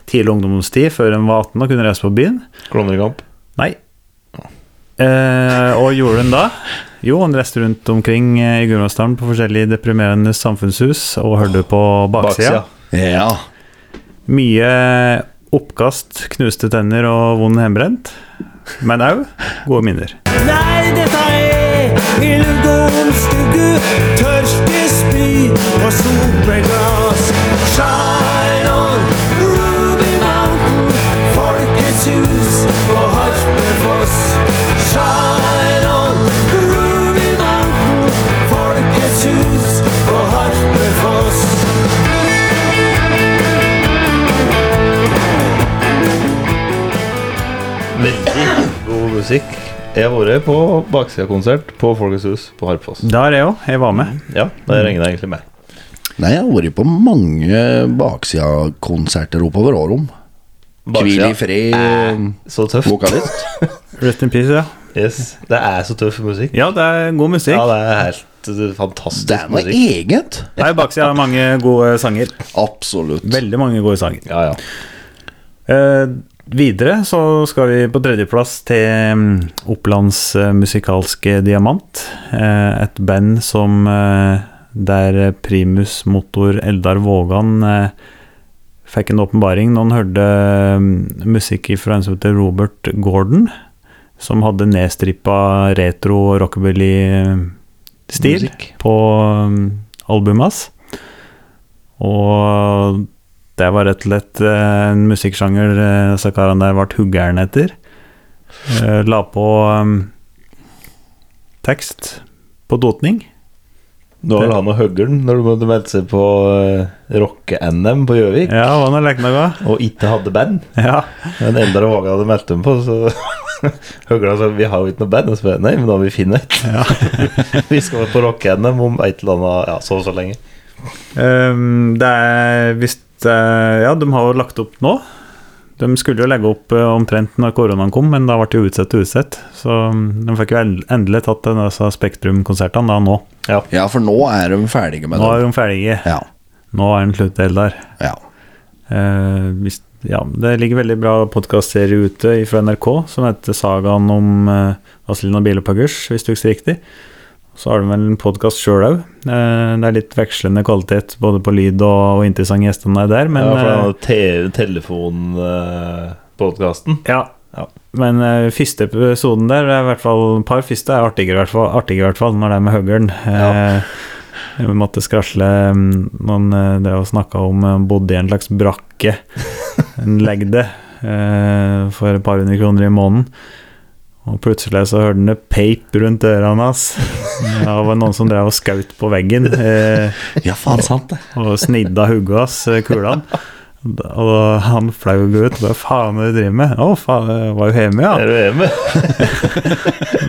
Speaker 1: tidlig ungdomstid, før en var 18 og kunne reise på byen.
Speaker 4: Klovnekamp.
Speaker 1: Nei. Eh, og gjorde hun da? Jo, han reiste rundt omkring eh, i Gudbrandsdalen på forskjellige deprimerende samfunnshus og hørte på baksida.
Speaker 3: Ja.
Speaker 1: Mye oppkast, knuste tenner og vond hjemmebrent, men òg gode minner.
Speaker 7: Nei, dette er i lugg og omskugge, tørste spy og solbærglass. Shine on, Ruby Mountain, Folkets hus og Harpefoss. Shine on, Ruby Mountain, Folkets hus og Harpefoss.
Speaker 4: Veldig god musikk. Jeg har vært på baksidekonsert på Folkets hus på Harpfoss.
Speaker 1: Der er jeg òg. Jeg var med.
Speaker 4: Ja, det regner egentlig med.
Speaker 3: Nei, jeg har vært på mange baksidakonserter oppover Årom. Hvil i
Speaker 4: Baksida.
Speaker 3: fred,
Speaker 4: Så tøft.
Speaker 3: vokalist.
Speaker 1: Rest in peace, ja.
Speaker 4: Yes. Det er så tøff musikk.
Speaker 1: Ja, det er god musikk.
Speaker 4: Ja, det er helt uh, fantastisk
Speaker 3: Det er noe
Speaker 4: musikk.
Speaker 3: eget.
Speaker 1: Nei, baksida har mange gode sanger.
Speaker 3: Absolutt.
Speaker 1: Veldig mange gode sanger.
Speaker 4: Ja, ja.
Speaker 1: Eh, videre så skal vi på tredjeplass til mm, Opplands eh, musikalske diamant. Eh, et band som eh, der primus motor Eldar Vågan eh, fikk en åpenbaring når han hørte mm, musikk fra en som heter Robert Gordon, som hadde nedstrippa retro rockabilly-stil
Speaker 3: Musikk.
Speaker 1: på mm, albumet hans. Og det var rett og slett eh, en musikksjanger eh, disse karene der ble huggeren etter. Eh, La på eh, tekst på dotning.
Speaker 4: Nå var det han og huggeren når du måtte melde seg på uh, rocke-NM på Gjøvik
Speaker 1: Ja, hva nå lekna ga?
Speaker 4: og ikke hadde band.
Speaker 1: Ja.
Speaker 4: Men Eldar og Vågan hadde meldt dem på, så huggeren sa vi har jo ikke noe band. Og så bare, nei, men da må vi finne et. vi skal være på rocke-NM om et eller annet ja, så og så lenge.
Speaker 1: Ehm, det er visst eh, Ja, de har jo lagt opp nå. De skulle jo legge opp eh, omtrent når koronaen kom, men da ble det jo utsatt og utsatt. Så mm, de fikk jo en- endelig tatt den, altså Spektrum-konsertene da nå.
Speaker 3: Ja, for nå er de ferdige med
Speaker 1: Nå er
Speaker 3: det.
Speaker 1: de ferdige.
Speaker 3: Ja,
Speaker 1: Nå er den slutt, Eldar.
Speaker 3: ja.
Speaker 1: Eh, hvis, ja, det ligger veldig bra podkastserie ute fra NRK som heter 'Sagaen om eh, Vazelina Bilopphøggers', hvis du husker riktig. Så har du vel en podkast sjøl òg. Eh, det er litt vekslende kvalitet både på lyd og, og interessante gjestene der, men
Speaker 4: ja, for
Speaker 1: eh,
Speaker 4: den te- eh, telefonpodkasten.
Speaker 1: eh, Ja. Men eh, første episoden der, er i hvert fall par første, er artigere i hvert fall, artigere i hvert fall når det er med høglen. Eh, vi måtte skrasle mm, noen eh, drev og snakka om eh, bodde i en slags brakke, en legde, eh, for et par hundre kroner i måneden. Og plutselig så hørte han det peip rundt ørene hans. Det var noen som drev og skaut på veggen. Eh,
Speaker 3: Ja, faen sant det.
Speaker 1: og snidda hodet hans, eh, kulene. Og han flaug ut. Hva faen er det du driver med? Å, faen, jeg var jo hjemme,
Speaker 4: Er
Speaker 1: ja.
Speaker 4: du hjemme?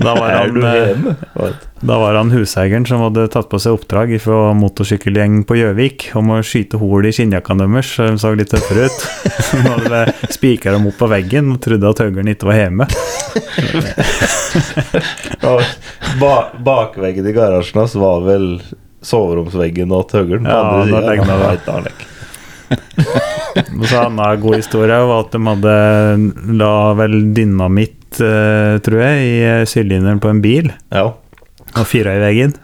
Speaker 1: Da var
Speaker 4: Er
Speaker 1: han,
Speaker 4: du
Speaker 1: eh,
Speaker 4: hjemme?
Speaker 1: da var han huseieren som hadde tatt på seg oppdrag fra motorsykkelgjeng på Gjøvik om å skyte hull i skinnjakkene deres, så de så litt tøffere ut. Så nå hadde de spikra dem opp på veggen og trodde at høgeren ikke var hjemme.
Speaker 4: Og ba bakveggen i garasjen hans var vel soveromsveggen og tøggeren.
Speaker 1: Ja, da tenkte jeg det.
Speaker 4: jeg det.
Speaker 1: Og så en annen god historie var at de hadde la vel dynamitt, eh, tror jeg, i sylinderen på en bil.
Speaker 4: Ja.
Speaker 1: og fyra i veggen.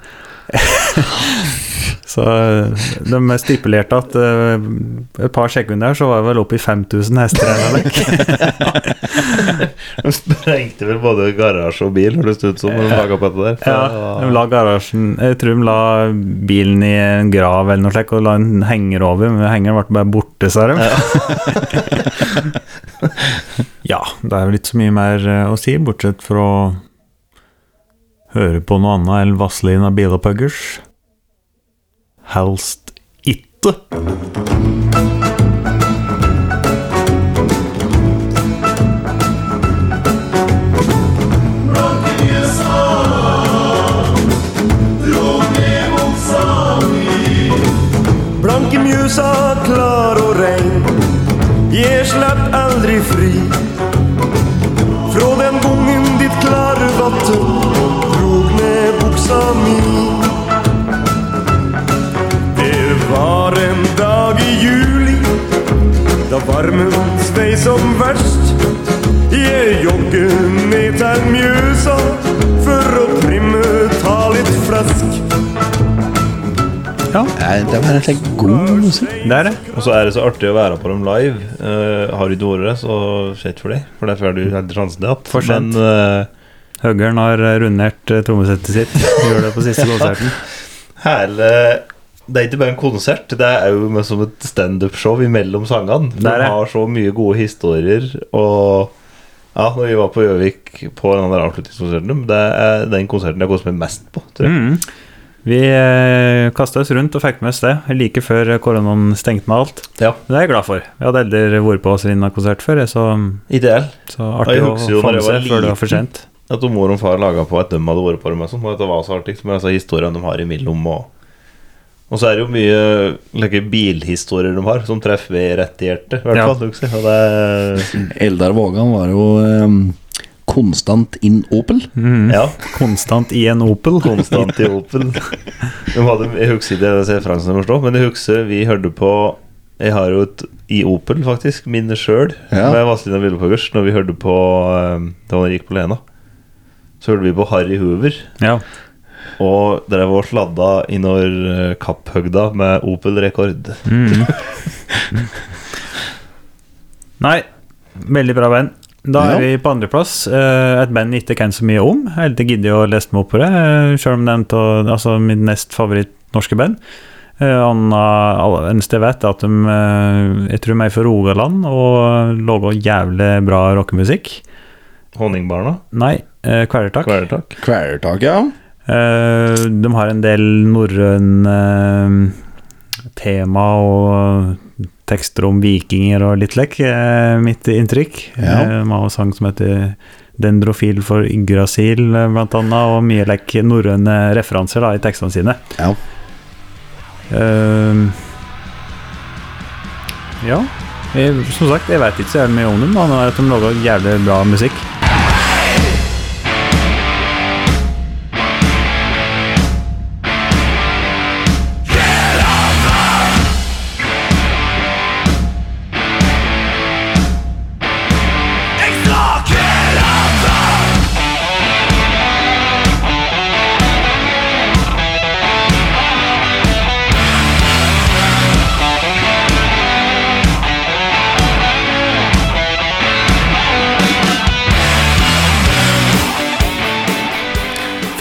Speaker 1: så eh, de stipulerte at eh, et par sekunder så var jeg vel oppe i 5000 hester. eller noe.
Speaker 4: De sprengte vel både garasje og bil, høres det ut som, når de laga på dette der.
Speaker 1: Ja, de la garasjen Jeg tror de la bilen i en grav eller noe slikt og la en henger over, men hengeren ble bare borte, sa de. ja, det er vel ikke så mye mer eh, å si, bortsett fra å høre på noe annet enn Vazelina Bilopphuggers. Helst ikke.
Speaker 7: Blanke mjusa, klar og rein. Jeg slapp aldri fri. Fra den gongen ditt klare vatten drog ned buksa mi. Det var en dag i juli da varmen svei som verst. Jeg jogger ned til Mjøsa for å trimme, ta litt flask.
Speaker 3: Nei, Det var en slik god musikk.
Speaker 1: Det er det.
Speaker 4: Og så er det så artig å være på dem live. Eh, har du ikke vært det, så shit for deg. For det er før du hadde sjansen til at.
Speaker 1: For sent.
Speaker 4: Men eh,
Speaker 1: Høgern har rundert eh, trommesettet sitt. Gjør det på siste konserten.
Speaker 4: hele Det er ikke bare en konsert, det er jo mer som et standup-show imellom sangene. For
Speaker 1: Det er
Speaker 4: De
Speaker 1: det.
Speaker 4: har så mye gode historier, og ja, når vi var på Gjøvik på den der avslutningskonserten, det er den konserten jeg har kost meg mest på, tror jeg.
Speaker 1: Mm. Vi eh, kasta oss rundt og fikk med oss det like før koronaen stengte med alt.
Speaker 4: Ja.
Speaker 1: Det er jeg glad for. Jeg hadde aldri vært på Vazelina-konsert før, jeg, så,
Speaker 4: Ideell.
Speaker 1: så
Speaker 4: Og
Speaker 1: artig
Speaker 4: jeg
Speaker 1: å
Speaker 4: husker jo
Speaker 1: få med
Speaker 4: når jeg var
Speaker 1: seg før det var for
Speaker 4: liten.
Speaker 1: sent.
Speaker 4: At mor og far laga på at de hadde vært på dem. og sånt, og Dette var så artig, men altså historiene de har imellom og Og så er det jo mye like, bilhistorier de har, som treffer meg rett i hjertet. I hvert
Speaker 1: Ja.
Speaker 4: fall, du kan si, og det er,
Speaker 3: Eldar Vågan var jo ehm, konstant in Opel.
Speaker 1: Mm.
Speaker 4: Ja,
Speaker 1: Konstant i en Opel.
Speaker 4: konstant i Opel. De hadde, jeg husker ikke den referansen deres nå, men jeg husker vi hørte på Jeg har jo et i Opel, faktisk, minne sjøl,
Speaker 3: Ja.
Speaker 4: med Vazelina Villepoggers, når vi hørte på eh, da han gikk på Lena. Så hørte vi på Harry Hoover.
Speaker 1: Ja.
Speaker 4: Og drev og sladda innover eh, kapphøgda med Opel-rekord.
Speaker 1: Mm. Nei, veldig bra band. Da er
Speaker 3: Ja.
Speaker 1: vi på andreplass. Eh, Et band jeg ikke kan så mye om. Jeg har ikke giddet å lese meg opp på det, eh, selv om det er en av- altså, mitt nest favoritt norske band. Eh, Anna, alle- eneste jeg vet, er at de eh, Jeg tror de er fra Rogaland og lager jævlig bra rockemusikk.
Speaker 4: Honningbarna.
Speaker 1: Nei, eh, Kvelertak.
Speaker 4: Kvelertak.
Speaker 3: Kvelertak, ja.
Speaker 1: Eh, de har en del norrøne tema og tekster om vikinger og litt lekk, eh, mitt inntrykk.
Speaker 3: Ja.
Speaker 1: Eh, de har en sang som heter 'Dendrofil for Yggdrasil', eh, blant annet, og mye lekk norrøne referanser da, i tekstene sine.
Speaker 3: ja.
Speaker 1: Eh, ja. Jeg, som sagt, jeg vet ikke så jævlig mye om dem, annet enn at de lager jævlig bra musikk.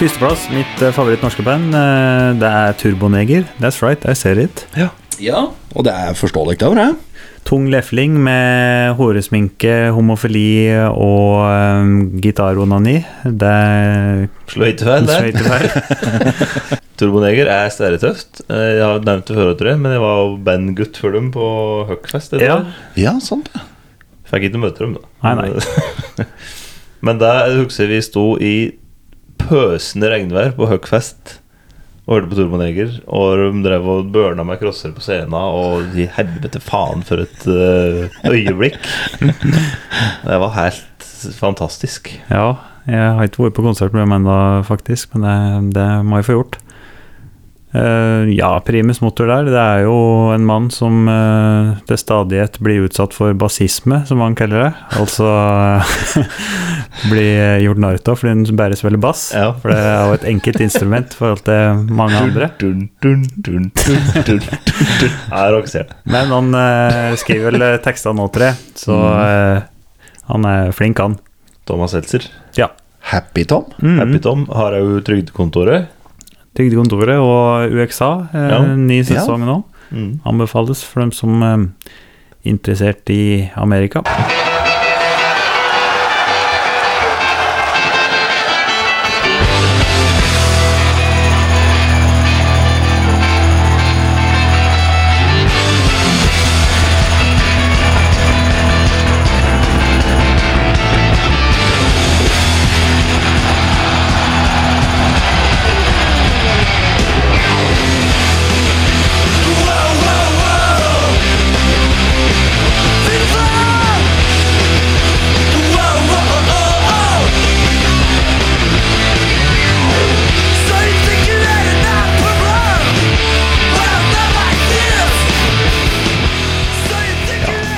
Speaker 1: Førsteplass, mitt eh, favoritt norske band, eh, det er Turboneger. That's right, I said it.
Speaker 3: Ja, og det er forståelig, det. Var det.
Speaker 1: Tung lefling med håresminke, homofili og um, gitaronani. Det er
Speaker 4: Slå ikke feil der.
Speaker 1: Sløyte feil.
Speaker 4: Turboneger er stæretøft. Eh, Jeg har nevnt det før, tror jeg, men jeg var jo bandgutt for dem på Huckfest. i
Speaker 1: Ja.
Speaker 4: dag.
Speaker 3: Ja, sant det.
Speaker 4: Fikk ikke møte dem, da.
Speaker 1: Nei, nei.
Speaker 4: men der husker jeg vi sto i pøsende regnvær på Huckfest og hørte på Turboneger, og de drev og burna med crosser på scenen, og i helvete faen for et eh, øyeblikk. Det var helt fantastisk.
Speaker 1: ja, jeg har ikke vært på konsert med dem ennå, faktisk, men det, det må jeg få gjort. Eh, ja, primus motor der. Det er jo en mann som eh, til stadighet blir utsatt for basisme, som han kaller det. Altså blir gjort narr av fordi han bare spiller bass.
Speaker 4: Ja.
Speaker 1: For det er jo et enkelt instrument i forhold til mange andre.
Speaker 4: Dun, dun, dun, dun, dun, dun, dun. Ja, rockestjerne.
Speaker 1: Men han eh, skriver vel tekstene nå, tror jeg. Så eh, han er flink, han.
Speaker 4: Thomas Seltzer.
Speaker 1: Ja.
Speaker 3: Happy Tom.
Speaker 1: Mm.
Speaker 4: Happy Tom har jo Trygdekontoret.
Speaker 1: Trygdekontoret og UXA, eh,
Speaker 4: Ja. Mm.
Speaker 1: ny sesong nå. Anbefales for dem som eh, er interessert i Amerika.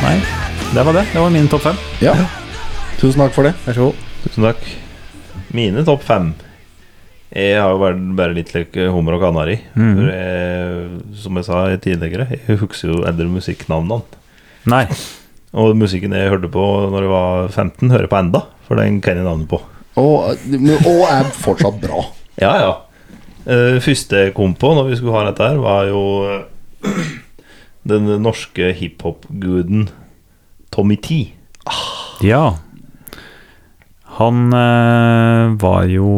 Speaker 1: Nei, det var det. Det var min topp fem.
Speaker 3: Ja. Tusen takk for det.
Speaker 1: Vær så god.
Speaker 4: Tusen takk. Mine topp fem. Jeg har jo vært bare litt like hummer og kanari. For jeg, som jeg sa tidligere, jeg husker jo eldre musikknavnene.
Speaker 1: Nei.
Speaker 4: Og musikken jeg hørte på når jeg var 15, hører jeg på enda, for den kan jeg navnet på.
Speaker 3: Og, og er fortsatt bra.
Speaker 4: Ja, ja. Eh, første jeg kom på når vi skulle ha dette her, var jo eh, den norske hiphop-guden Tommy T.
Speaker 1: Ja. Han eh, var jo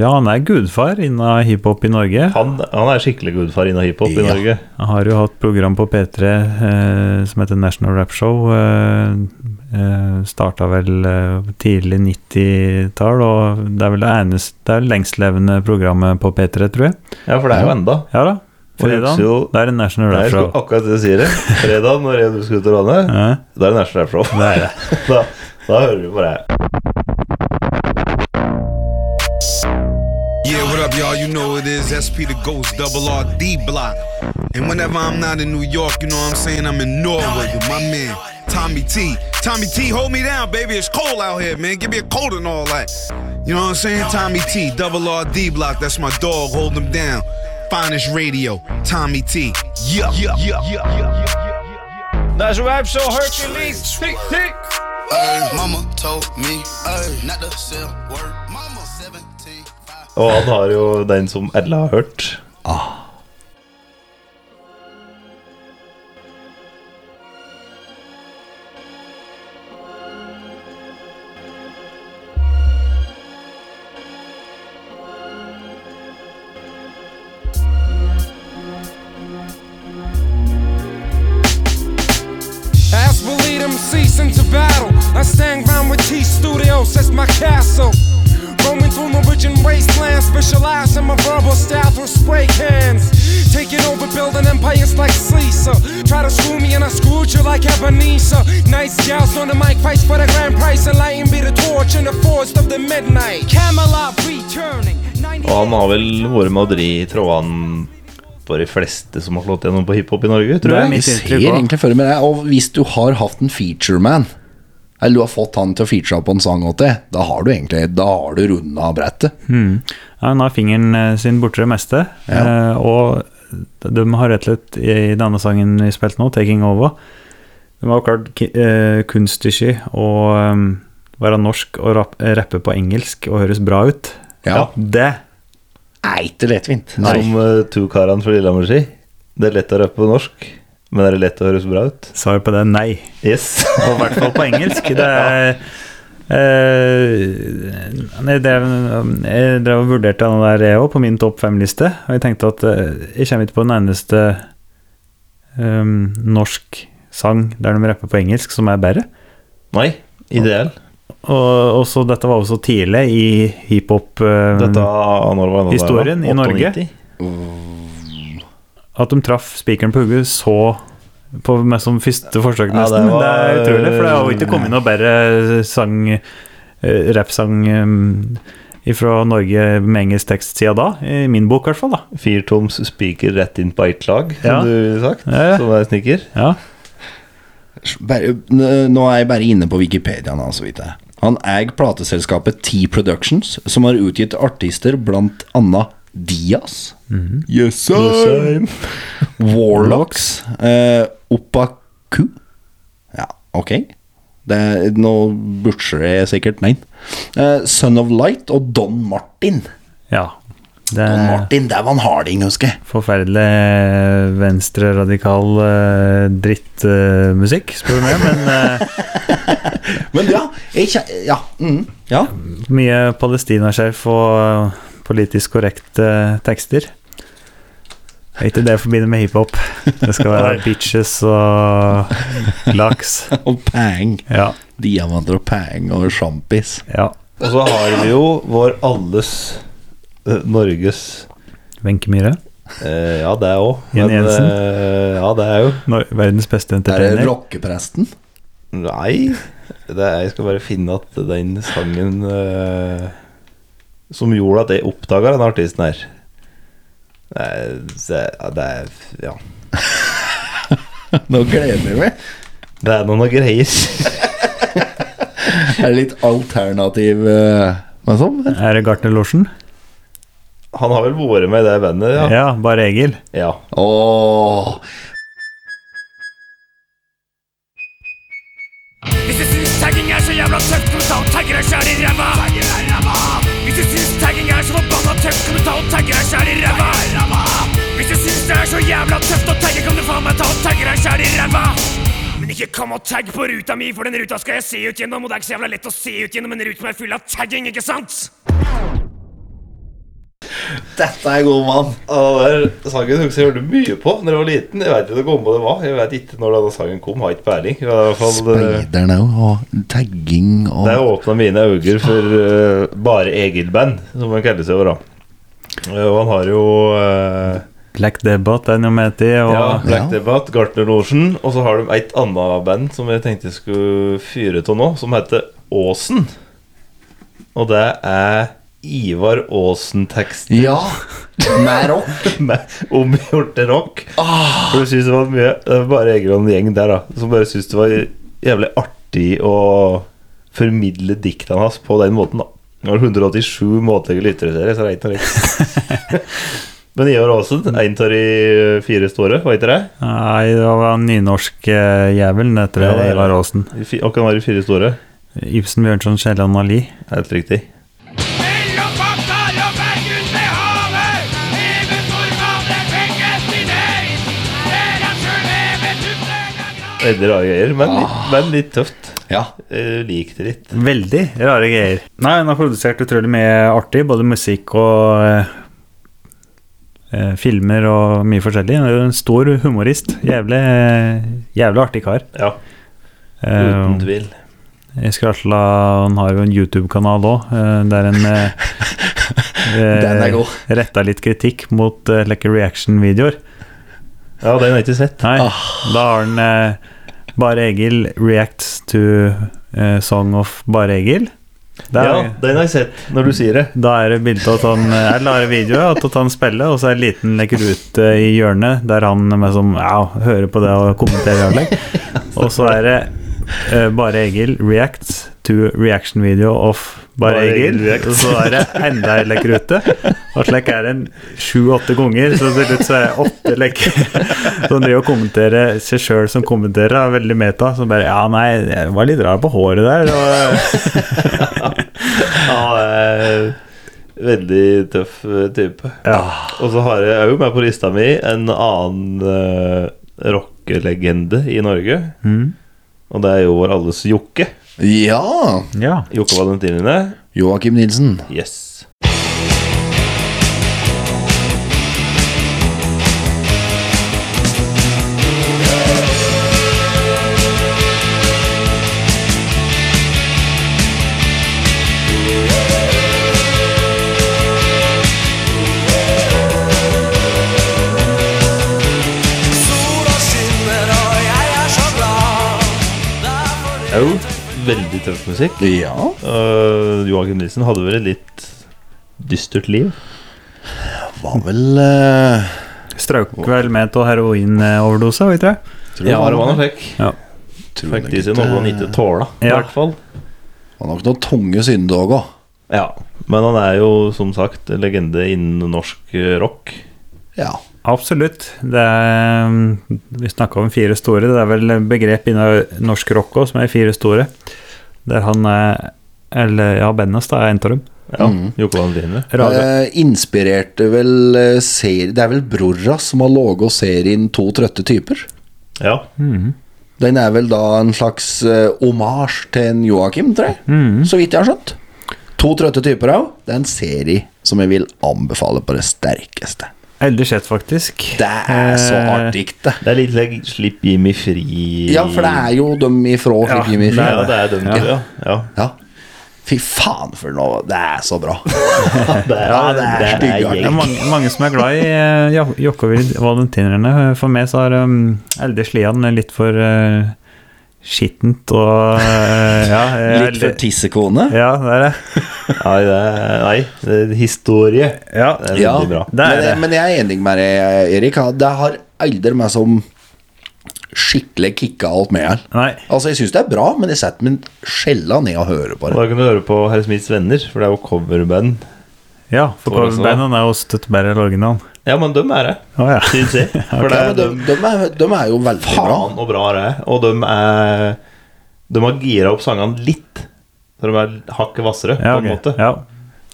Speaker 1: Ja, han er gudfar innen hiphop i Norge.
Speaker 4: Han, han er skikkelig gudfar innen hiphop i
Speaker 3: Ja.
Speaker 4: Norge.
Speaker 1: Jeg har jo hatt program på P3 eh, som heter National Rap Show eh, Eh, starta vel eh, tidlig 90-tall, og det er vel det eneste Det er lengstlevende programmet på P3, tror jeg.
Speaker 4: Ja, for det er jo enda.
Speaker 1: Ja da.
Speaker 4: Og jeg
Speaker 1: Fredagen,
Speaker 4: husker jo-
Speaker 1: det er en National
Speaker 4: Det
Speaker 1: Rap
Speaker 4: er
Speaker 1: Show.
Speaker 4: akkurat det du sier. det. Fredag når jeg skulle til Rane,
Speaker 1: Ja.
Speaker 4: da er det National Rap Show. da, da hører vi på det.
Speaker 6: Yeah, what up, y'all? You know it is SP the Ghost Double R D Block. And whenever I'm not in New York, you know what I'm saying? I'm in Norway with my man, Tommy T. Tommy T, hold me down, baby. It's cold out here, man. Give me a cold and all that. You know what I'm saying? Tommy T, Double R D Block. That's my dog. Hold him down. Finest radio, Tommy T. Yeah, yeah, yeah, yeah, yeah.
Speaker 8: Mama told me not to sell word. Mama 17.
Speaker 4: Og han har jo den som alle har hørt.
Speaker 9: Ask will lead them cease into battle. I sang round with T Studios, that's my castle. Roaming through my rich and wasteland, specializing my verbal style through spray cans. Taking over building empires like Caesar. Try to screw me and I screwed you like Ebenezer. Nice gals on the mic, fights for the grand prize. Enlighten be the torch in the forest of the midnight. Camelot returning.
Speaker 4: Og han har vel vært med å dri trådene på de fleste som har slått gjennom på hiphop i Norge, tror
Speaker 1: Det er
Speaker 4: jeg.
Speaker 1: mitt
Speaker 3: Jeg ser
Speaker 1: inntrykk også.
Speaker 3: egentlig for meg det. Og hvis du har hatt en featureman, eller du har fått han til å feature på en sang åt deg, da har du egentlig Da har du runda brettet.
Speaker 1: Hm. Ja, han har fingeren eh, sin borti det meste, eh, og de har rett og slett i denne sangen vi spilte nå, 'Taking Over', de har klart ki- eh, kunststykke å eh, være norsk og rap rappe på engelsk og høres bra ut.
Speaker 3: Ja.
Speaker 1: Det
Speaker 3: Er ikke lettvint.
Speaker 4: Som uh, Tukaran fra Lillehammer sier. Det er lett å rappe på norsk, men er det lett å høres bra ut?
Speaker 1: sa jo på det nei.
Speaker 4: Yes.
Speaker 1: Og i hvert fall på engelsk. Det er eh, nei, det, jeg drev og vurderte den der jeg òg, på min topp fem-liste. Og jeg tenkte at eh, jeg kommer ikke på den eneste ehm, norsk sang der de rapper på engelsk, som er bedre.
Speaker 4: Nei, ideell.
Speaker 1: Og også, dette var også tidlig i hiphop. ehm,
Speaker 4: Dette når var det da?
Speaker 1: Historien i Norge.
Speaker 4: 98.
Speaker 1: at de traff spikeren på hugget så på meg som første forsøk,
Speaker 4: Ja, det
Speaker 1: nesten.
Speaker 4: var-
Speaker 1: det, er utrolig, for det har jo ikke kommet noe bedre sang eh, rappsang eh, fra Norge med engelsk tekst siden da. I min bok, i hvert fall. da
Speaker 4: Firtoms spiker rett inn på ett lag, som
Speaker 1: Ja.
Speaker 4: du har sagt.
Speaker 1: Ja, ja.
Speaker 4: Som er snekker.
Speaker 1: ja.
Speaker 3: Bare, nå er jeg bare inne på Wikipedia nå, så vidt jeg. Han eier plateselskapet T Productions, som har utgitt artister blant annet Diaz, Yes sir. Warlocks, eh, Opaku Ja, ok. Det, er- nå butcher jeg sikkert navn. Eh, Son of Light og Don Martin.
Speaker 1: ja. Det
Speaker 3: Don
Speaker 4: Eh.
Speaker 1: er
Speaker 3: Martin, der var han harding, husker jeg.
Speaker 1: forferdelig venstreradikal uh, drittmusikk, spør du meg. Men eh,
Speaker 3: Men ja, jeg kje- Ja. Mm, ja.
Speaker 1: mye palestinaskjerf og eh, politisk korrekte tekster. Det er ikke det jeg forbinder med hiphop. Det skal være bitches og laks.
Speaker 3: Og pang.
Speaker 1: Ja.
Speaker 3: Diamanter og pang og sjampis.
Speaker 1: ja.
Speaker 4: Og så har vi jo vår alles eh, Norges
Speaker 1: Wenche Myhre.
Speaker 4: eh, Ja, det òg.
Speaker 1: Jenny Jensen.
Speaker 4: eh, ja, det er jo
Speaker 1: Nor- Verdens beste
Speaker 3: Der er
Speaker 1: entertainer.
Speaker 3: rockepresten.
Speaker 4: Nei, det er, jeg skal bare finne at den sangen eh, som gjorde at jeg oppdaga denne artisten her Det er, det er- det er Ja.
Speaker 3: Nå gleder jeg meg.
Speaker 4: Det er noen greier.
Speaker 3: Er det litt alternativ eh, men sånn?
Speaker 1: Er det Gartnerlosjen?
Speaker 4: Han har vel vært med i det bandet, ja.
Speaker 1: Ja, bare Egil.
Speaker 4: ja.
Speaker 3: Åh,
Speaker 9: Hvis du syns tagging er så jævla tøft, kan du ta og tagge deg sjæl i ræva. Hvis du syns tagging er så forbanna tøft, kan du ta og tagge deg sjæl i ræva. Hvis du syns det er så jævla tøft å tagge, kan du faen meg ta og tagge deg sjæl i ræva. Men ikke kom og tagg på ruta mi, for den ruta skal jeg se ut gjennom, og det er ikke så jævla lett å se ut gjennom en rute som er full av tagging, ikke sant?
Speaker 3: Dette er god mann.
Speaker 4: Og den der sangen husker jeg hørte mye på da jeg var liten. Jeg vet ikke hvor gammel den var. Jeg vet ikke når denne sangen kom. Har ikke peiling. I hvert fall, det-
Speaker 3: Speiderne og tagging og
Speaker 4: Det åpna mine øyne for eh, bare Egil-band, som han kaller seg. over da. Eh, og han har jo eh,
Speaker 1: Black Debate er noe med til, og
Speaker 4: ja, Black
Speaker 3: Ja.
Speaker 4: Debate, Gartner Losjen, og så har de et annet band som jeg tenkte jeg skulle fyre av nå, som heter Åsen. Og det er Ivar Aasen-teksten
Speaker 3: Ja, med rock.
Speaker 4: med omgjort til rock. For du synes det var mye Det var bare Egil og en gjeng der da som bare syntes det var jævlig artig å formidle diktene hans på den måten. da Det var 187 måter å lyttere så det er ikke noe rett. Men Ivar Aasen, en av de fire store, var ikke det?
Speaker 1: Nei, det var en nynorsk eh, jævel, det heter
Speaker 4: Ja, det
Speaker 1: det,
Speaker 4: er
Speaker 1: Ivar
Speaker 4: det.
Speaker 1: Aasen.
Speaker 4: De fi- Og kan være de fire store.
Speaker 1: Ibsen, Bjørnson, Kielland og Lie.
Speaker 4: Helt riktig. Veldig rare greier, men, litt- men litt tøft.
Speaker 3: Ja.
Speaker 4: Eh, Likte det litt.
Speaker 1: Veldig rare greier. Nei, han har produsert utrolig mye artig, både musikk og eh, eh, filmer og mye forskjellig. Han er jo en stor humorist. Jævlig, eh, jævlig artig kar.
Speaker 4: Ja,
Speaker 1: Eh,
Speaker 4: uten tvil.
Speaker 1: Jeg Skratla han har jo en YouTube-kanal òg, der en eh,
Speaker 3: Den er
Speaker 1: eh,
Speaker 3: god.
Speaker 1: retta litt kritikk mot eh, like reaction-videoer.
Speaker 4: Ja, den har jeg ikke sett.
Speaker 1: Nei, da har han eh, Bare Egil reacts to eh, song of Bare Egil. Der,
Speaker 4: Ja, den har jeg sett, når du sier det.
Speaker 1: Da er det bilde av at han Eller er det video av at han spiller, og så er det en liten lekker rute i hjørnet der han med som, ja, hører på det og kommenterer anlegg. Og så er det eh, Bare Egil reacts to reaction video of Bare
Speaker 4: Bare Egil
Speaker 1: Egil.
Speaker 4: reacts.
Speaker 1: Og så er det enda en lekker rute. Og slik er det en sju-åtte ganger, så til slutt så er det åtte lekker. Så han driver og kommenterer seg sjøl som kommenterer, er veldig meta. Så bare Ja, nei, jeg var litt rar på håret der. Og,
Speaker 4: Ja, eh, veldig tøff eh, type.
Speaker 1: ja.
Speaker 4: Og så har jeg òg med på lista mi en annen eh, rockelegende i Norge.
Speaker 3: Mm.
Speaker 4: Og det er jo vår alles Jokke.
Speaker 3: ja.
Speaker 1: ja.
Speaker 4: Jokke Valentinine.
Speaker 3: Joakim Nilsen.
Speaker 4: Yes.
Speaker 7: Sola skinner, og jeg er så glad.
Speaker 4: Au. Veldig tøff musikk.
Speaker 3: Ja.
Speaker 4: Uh, Joakim Nilsen hadde vel et litt dystert liv.
Speaker 3: Var vel eh,
Speaker 1: Strøk vel med av heroinoverdose, var ikke det?
Speaker 3: tror det var,
Speaker 4: han fikk.
Speaker 3: tror
Speaker 4: Fikk
Speaker 3: nok
Speaker 4: de seg
Speaker 3: ikke-
Speaker 4: noe han ikke tåla, i
Speaker 1: Ja.
Speaker 4: hvert fall.
Speaker 3: var nok noen tunge synder òg.
Speaker 4: Ja. Men han er jo som sagt en legende innen norsk eh, rock.
Speaker 3: Ja.
Speaker 1: Absolutt. Det er, mm, vi snakka om fire store. Det er vel begrep innen norsk rock òg, som er fire store. Der han er Eller ja, Bennas da, er en av dem.
Speaker 4: Ja,
Speaker 1: Mm.
Speaker 4: Jokke Valentinine.
Speaker 1: Rare.
Speaker 3: Eh, inspirerte vel eh, seri- Det er vel Brorra som har laget serien To trøtte typer?
Speaker 4: Ja.
Speaker 3: Den er vel da en slags eh, omasj til en Joakim, tror jeg. Så vidt jeg har skjønt. To trøtte typer òg. Det er en serie som jeg vil anbefale på det sterkeste.
Speaker 1: Aldri sett, faktisk.
Speaker 3: Det er så
Speaker 1: Eh,
Speaker 3: artig, det.
Speaker 4: Det er litt like Slipp Jimmy fri
Speaker 3: Ja, for det er jo dem ifra
Speaker 1: Ja,
Speaker 3: Flipp Jimmy
Speaker 4: Nei, ja, det
Speaker 3: Fri.
Speaker 4: er den, ja. ja.
Speaker 3: Ja. Fy faen for noe Det er så bra.
Speaker 4: Det er,
Speaker 3: Ja, det er
Speaker 4: det er
Speaker 3: stygg,
Speaker 1: Det er
Speaker 4: gjeng.
Speaker 1: mange, mange som er glad i eh, Jo- Jokke og Vid- Valentinerne. For meg så har um, Elde Slian litt for eh, skittent og eh, ja, jeg-
Speaker 3: Litt for tissekone.
Speaker 1: Ja, det er det.
Speaker 4: Nei, det er, nei, det er historie.
Speaker 1: Ja.
Speaker 4: Det er
Speaker 3: Ja,
Speaker 4: veldig bra.
Speaker 1: Det er
Speaker 3: men,
Speaker 1: det.
Speaker 3: men jeg er enig med deg, Erik. Det har aldri meg som skikkelig kicka alt med her.
Speaker 1: Nei.
Speaker 3: Altså, jeg syns det er bra, men jeg setter meg skjella ned og hører på
Speaker 4: Og
Speaker 3: det.
Speaker 4: Da kan du høre på Herr Smiths venner, for det er jo coverband.
Speaker 1: Ja, for
Speaker 4: Tror jeg så.
Speaker 1: coverbandene er jo støtt bedre enn originalen.
Speaker 4: Ja, men dem er det,
Speaker 1: Å ja.
Speaker 4: syns jeg. For
Speaker 3: Ja, men
Speaker 4: det er
Speaker 3: de, de,
Speaker 4: dem
Speaker 3: er, de er jo veldig bra.
Speaker 4: faen og bra det er. Og dem er De har gira opp sangene litt. Så de er hakket hvassere,
Speaker 1: ja,
Speaker 4: på en
Speaker 1: ok.
Speaker 4: måte.
Speaker 1: ja.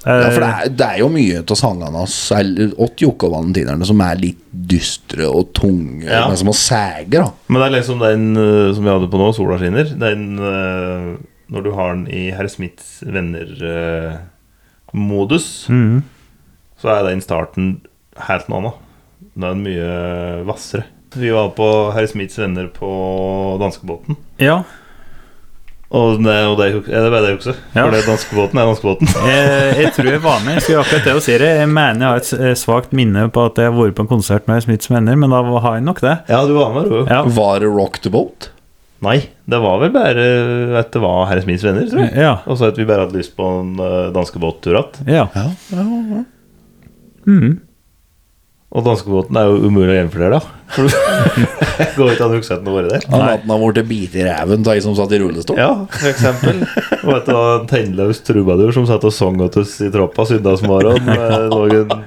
Speaker 1: Eh,
Speaker 3: Ja, for det er, det er jo mye av sangene hans eller åt Jokke og Valentinerne som er litt dystre og tunge,
Speaker 4: Ja.
Speaker 3: men som har sæger, da.
Speaker 4: Men det er liksom den eh, som vi hadde på nå, Sola skinner. Den eh, Når
Speaker 1: Mm.
Speaker 4: du har den i Herr Smiths venner-modus, eh, så er den starten helt noe annet. Den er mye hvassere. Vi var på Herr Smiths venner på danskebåten.
Speaker 1: Ja,
Speaker 4: Og det, og det, er jo- er det bare det jeg husker.
Speaker 1: Ja.
Speaker 4: For det danskebåten er danskebåten.
Speaker 1: jeg, Eh, jeg tror jeg var med. Jeg skulle akkurat det å si det. Jeg mener jeg har et s- eh, svakt minne på at jeg har vært på en konsert med Smiths venner, men da har jeg nok det.
Speaker 4: Ja, du var med, du.
Speaker 1: Ja.
Speaker 3: Var det Rock the Boat?
Speaker 4: Nei, det var vel bare at det var Herr Smiths venner, tror jeg.
Speaker 1: Ja.
Speaker 4: Og så at vi bare hadde lyst på en eh, danskebåttur att.
Speaker 1: ja.
Speaker 4: Og danskebåten er jo umulig å gjennomføre, da. Går ikke an å huske at den har vært der.
Speaker 3: Han hadde han vært bit i ræven av ei som satt i rullestol?
Speaker 4: Ja, for eksempel. Og et av en tennløs trubadur som satt og sang til oss i troppa søndagsmorgen. Det lå en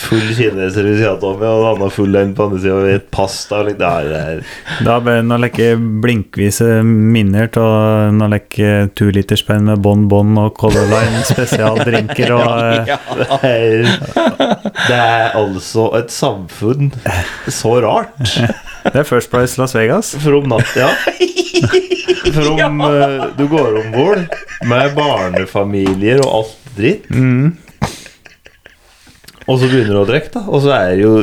Speaker 4: full kineser i sida av meg, og en annen full en på andre sida med et pasta. og litt- Nei, det er-
Speaker 1: Da ble noen lekke blinkvise minner av noen lekke to-literspenn med Bon Bon og Color Line spesialdrinker og eh,
Speaker 4: det er Det er altså et samfunn så rart.
Speaker 1: Det er First Price Las Vegas.
Speaker 4: From natt, ja. From eh, Du går om bord med barnefamilier og alt dritt. Og så begynner du å drikke, da. Og så er det jo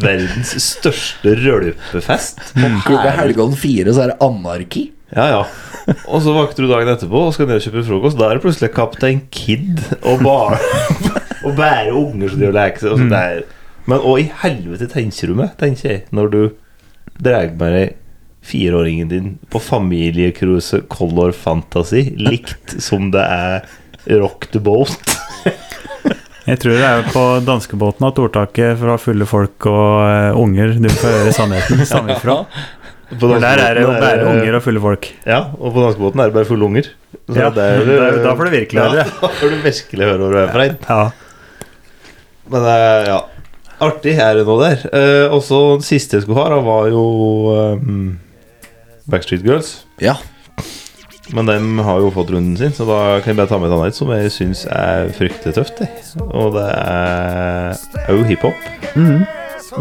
Speaker 4: verdens største rølpefest.
Speaker 3: Klokka helgen fire så er det anarki.
Speaker 4: Ja, ja. Og så vakter du dagen etterpå og skal ned og kjøpe frokost. Da er det plutselig Kaptein Kid og bare Og bære unger som de leker seg. og
Speaker 1: Mm.
Speaker 4: så det er- Men hva i helvete tenker du med, tenker jeg, når du drar med deg fireåringen din på familiecruiset Color Fantasy, likt som det er Rock the Boat?
Speaker 1: Jeg tror det er på danskebåten at ordtaket fra fulle folk og eh, unger du får høre sannheten stammer fra. For der er det jo bare unger og fulle folk.
Speaker 4: Ja, og på danskebåten er det bare fulle unger. Så
Speaker 1: Ja,
Speaker 4: det er jo-
Speaker 1: da- da får du virkelig høre
Speaker 4: Ja,
Speaker 1: det.
Speaker 4: Da får du virkelig høre hvor du er fra. inn.
Speaker 1: Ja.
Speaker 4: Men eh, ja Artig er det nå der uh, Og så den siste jeg skulle ha da var jo ehm, Backstreet Girls
Speaker 3: Ja.
Speaker 4: Men dem har jo fått runden sin Så da kan jeg bare ta med et annet som jeg synes er fryktelig tøft jeg. Og det er jo hiphop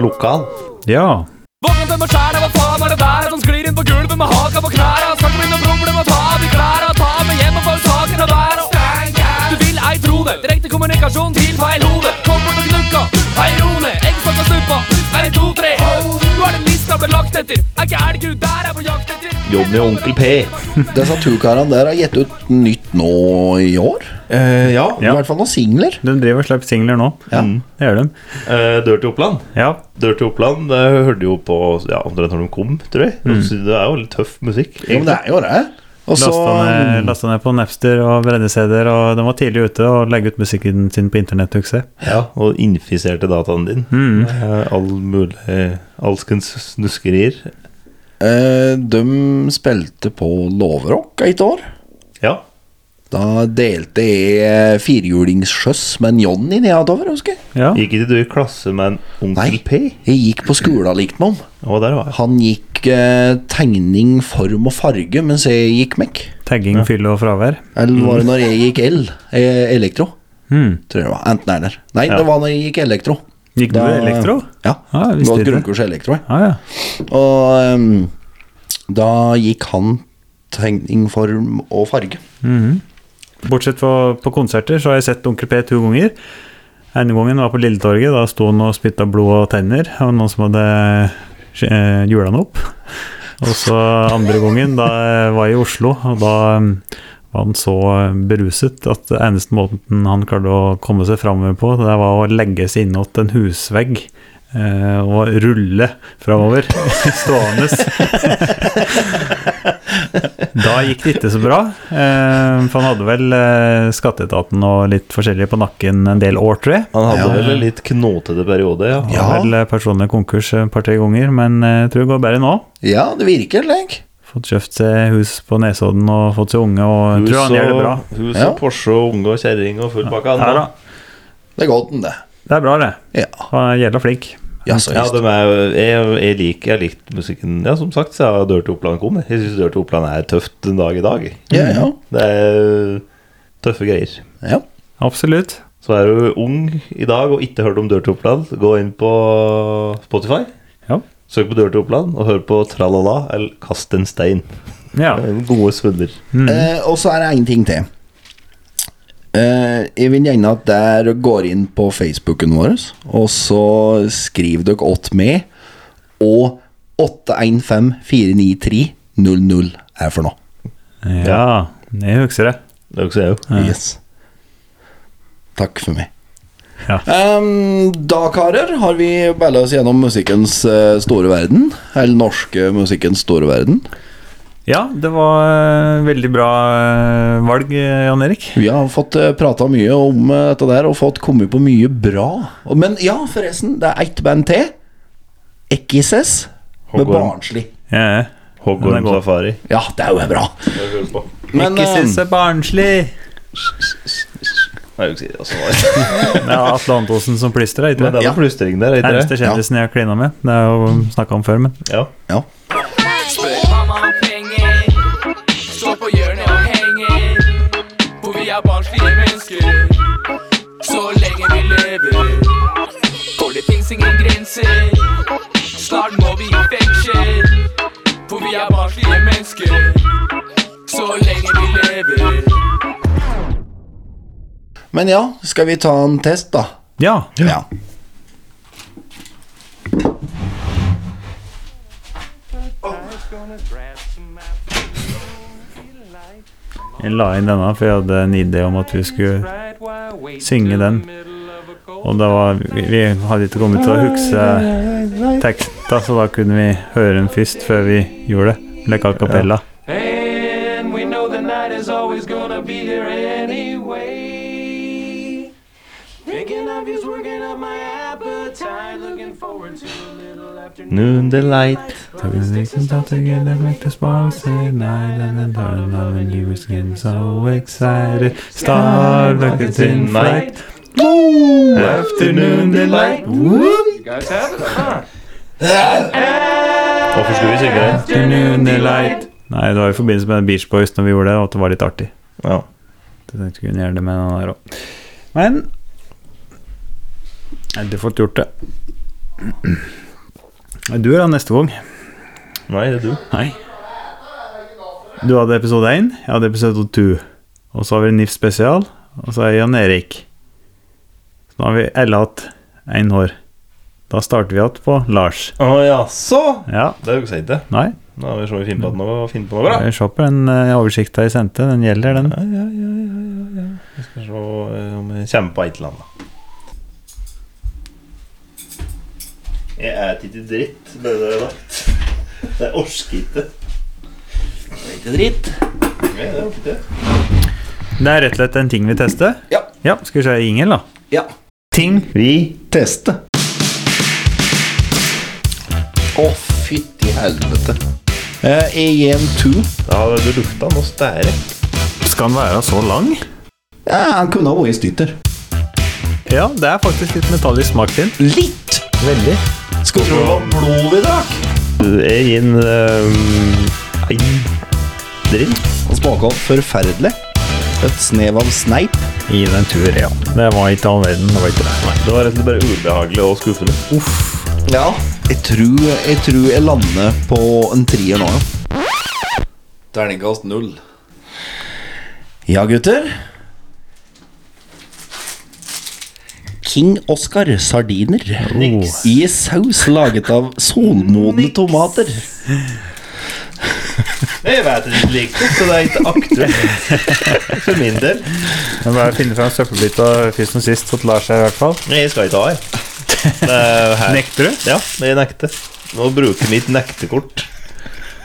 Speaker 4: Lokal
Speaker 1: ja.
Speaker 9: Våknet med skjæra, hva faen var det der? At han sklir inn på gulvet med haka på knæra. Snakker min om rumle, må ta av i klæra. Ta med hjem og få saken av været. Du vil ei tro det. Direkte kommunikasjon til feil hode. Kom bort og gnukka. Ei rone. Eggstokk og snuppa. Er det to, tre? Nå er det lista ble lagt etter. Er ikke elg ut der, er på jakt etter.
Speaker 4: Johnny og Onkel P
Speaker 3: Disse to karene der har gitt ut nytt nå i år.
Speaker 4: Ja
Speaker 1: Ja.
Speaker 3: I hvert fall noen singler.
Speaker 1: De driver og slipper singler nå. Mm. Det gjør de.
Speaker 4: Eh, Dør til Oppland
Speaker 1: Ja.
Speaker 4: Dør til Oppland Det hørte jo på Ja, omtrent når de kom, tror jeg Så Det er jo litt tøff musikk
Speaker 3: Jo, men det er jo det. Og så
Speaker 1: Lasta ned, lasta ned på Napster og bredde-CD-er, og de var tidlig ute og legge ut musikken sin på internett. husker jeg.
Speaker 4: Ja, og infiserte dataen din. Eh, All mulig Alskens snuskerier.
Speaker 3: eh, De spilte på Låverock et år.
Speaker 4: Ja.
Speaker 3: Da delte jeg firehjulingssjøss med en Johnny nedover, husker jeg.
Speaker 1: Ja.
Speaker 4: Gikk ikke du i klasse med en onkel
Speaker 3: Nei,
Speaker 4: P?
Speaker 3: jeg gikk på skolen likt med om.
Speaker 4: Å, der var jeg.
Speaker 3: Han gikk eh, tegning, form og farge mens jeg gikk MEC.
Speaker 1: Tagging, fylle og fravær.
Speaker 3: Eller
Speaker 1: Mm.
Speaker 3: var det når jeg gikk el, eh, elektro? Tror jeg det var. Enten eller. Nei, det var når jeg gikk elektro.
Speaker 1: Gikk du
Speaker 3: Da-
Speaker 1: elektro?
Speaker 3: Ja.
Speaker 1: Ah, jeg
Speaker 3: det
Speaker 1: visste
Speaker 3: var et
Speaker 1: ikke.
Speaker 3: grunnkurs i elektro. jeg.
Speaker 1: Ja, Ah, ja.
Speaker 3: Og ehm, da gikk han tegning, form og farge.
Speaker 1: Bortsett fra på konserter så har jeg sett Onkel P to ganger. Ene gangen var på Lilletorget. Da sto han og spytta blod og tenner. Og noen som hadde eh, hjula han opp. Og så andre gangen, da jeg var i Oslo, og da mm, var han så beruset at det eneste måten han klarte å komme seg framover på, det var å legge seg innåt en husvegg. eh, Og rulle framover, stående. Da gikk det ikke så bra. eh, For han hadde vel eh, Skatteetaten og litt forskjellig på nakken en del år, tror jeg.
Speaker 4: Han hadde vel en litt knotete periode, ja.
Speaker 1: Han har Vel eh, personlig konkurs et par-tre ganger, men eh, jeg tror det går bedre nå.
Speaker 3: Ja, det virker, legg.
Speaker 1: Fått kjøpt seg hus på Nesodden og fått seg unge, og jeg tror han gjør det bra.
Speaker 4: og, hus
Speaker 3: Ja.
Speaker 4: og Porsche og unge og kjerring og full pakke.
Speaker 1: Ja, da.
Speaker 3: Det er godt, den, det.
Speaker 1: Det er bra, det.
Speaker 3: Ja,
Speaker 1: Han er jævla flink.
Speaker 3: ja så
Speaker 4: Ja,
Speaker 3: visst.
Speaker 4: de er, jo- jeg, jeg liker jeg har likt musikken Ja, som sagt, så har Dør til Oppland kommet. Jeg syns Dør til Oppland er tøft den dag i dag.
Speaker 3: Ja, ja.
Speaker 4: Det er tøffe greier.
Speaker 3: ja.
Speaker 1: Absolutt.
Speaker 4: Så er du ung i dag og ikke hørt om Dør til Oppland, gå inn på Spotify.
Speaker 1: Ja.
Speaker 4: Søk på Dør til Oppland og hør på Tralala eller Kast en stein.
Speaker 1: ja.
Speaker 4: Gode svømmer.
Speaker 3: Eh, og så er det en ting til. Eh, jeg vil gjerne at der går inn på Facebooken vår, og så skriver dere åt meg, og 815-493-00 er for nå.
Speaker 1: Ja, jeg husker det.
Speaker 4: Det er jo ikke så jeg jo.
Speaker 3: Yes. Takk for meg.
Speaker 1: Ja.
Speaker 3: Ehm, da, karer, har vi balla oss gjennom musikkens eh, store verden. Eller norske musikkens store verden.
Speaker 1: Ja, det var eh, veldig bra eh, valg, eh, Jan Erik.
Speaker 3: Vi har fått uh, prata mye om eh, dette der og fått kommet på mye bra. Og- Men ja, forresten, det er ett band til. Ekkises med
Speaker 4: Hoggorm.
Speaker 3: barnslig.
Speaker 1: Ja, ja. Den
Speaker 4: Hoggorm
Speaker 1: er god.
Speaker 4: safari.
Speaker 3: Ja, det er jo bra. Men
Speaker 1: Ikke synes
Speaker 3: eh,
Speaker 1: det er barnslig.
Speaker 4: Nei, jeg vil ikke si det, altså.
Speaker 1: Ja, Atle Antonsen som plystrer, ikke det?
Speaker 4: Men denne
Speaker 3: Ja.
Speaker 4: plystringen der, er
Speaker 1: Nærmeste
Speaker 4: ikke det?
Speaker 1: kjendisen jeg har klina med. Det er jo snakka om før, men
Speaker 4: Ja.
Speaker 3: ja.
Speaker 7: Mamma har penger, står på hjørnet og henger. For vi er barnslige mennesker, så lenge vi lever. For det fins ingen grenser, snart må vi i fengsel. For vi er barnslige mennesker, så lenge vi lever.
Speaker 3: Men ja, skal vi ta en test, da?
Speaker 1: ja.
Speaker 3: Ja.
Speaker 1: Jeg la inn denne, for jeg hadde en idé om at vi skulle synge den. Og da var Vi, vi hadde ikke kommet til å huske teksta, så da kunne vi høre den først før vi gjorde det. Leka a cappella.
Speaker 7: And we know the night is always gonna be here anyway. Thinking of you's working up my appetite, looking forward to a little afternoon.
Speaker 4: Noon delight. Afternoon delight. Hvorfor skulle vi synge den?
Speaker 1: Nei, det var i forbindelse med Beach Boys når vi gjorde det, og at det var litt artig.
Speaker 4: Ja.
Speaker 1: Så tenkte vi kunne gjøre det med den der òg. Men jeg hadde fått gjort det. Du er da neste gang.
Speaker 4: Nei, det er du.
Speaker 1: Nei. Du hadde episode 1, jeg hadde episode 2. Og så har vi NIF spesial, og så er Jan Erik. Så nå har vi alle hatt én år. Da starter vi igjen på Lars.
Speaker 4: Å jaså?
Speaker 1: Ja,
Speaker 4: Det er jo ikke seint, det.
Speaker 1: nei.
Speaker 4: Nå har vi så vi finner på at noe, finner på noe bra.
Speaker 1: Jeg ser på den eh, oversikta jeg sendte. Den gjelder, den.
Speaker 4: Ja, ja, ja, ja, ja, ja. Vi skal se eh, om jeg kommer på et eller annet. Jeg er ikke dritt, ble det lagt. Det er orskete. Det er ikke dritt.
Speaker 1: Det er rett og slett en ting vi tester.
Speaker 3: Ja.
Speaker 1: Ja, Skal vi se jingel, da.
Speaker 3: ja.
Speaker 1: Ting
Speaker 4: Vi
Speaker 3: Teste. Å, fytti helvete. Eh, EM2.
Speaker 4: Da har du lukta noe stære.
Speaker 1: Skal den være så lang?
Speaker 3: Ja, han kunne ha vært stytter.
Speaker 1: Ja, det er faktisk litt metallisk smak til den.
Speaker 3: Litt!
Speaker 1: Veldig.
Speaker 3: Skulle tro det var blod vi drakk.
Speaker 4: Jeg gir en eh, ei dritt.
Speaker 3: Han smaka forferdelig. Et snev av sneip.
Speaker 1: Gi det en tur, ja. Det var ikke all verden. Det var ikke det.
Speaker 4: Det var rett og slett bare ubehagelig og skuffende.
Speaker 3: Ja. Jeg tror jeg, tror jeg lander på en trier nå, ja. Terningkast null. Ja, gutter. King Oscar sardiner i saus laget av solmodne tomater.
Speaker 4: Jeg vet ikke like, så det er ikke aktuelt for min del.
Speaker 1: Jeg må bare finne fram søppelbita først og sist, så det lar seg i hvert fall.
Speaker 4: Nei, Jeg skal ikke ha her. Det er jo her.
Speaker 1: Nekter du?
Speaker 4: Ja, men jeg nekter. Må bruke mitt nektekort.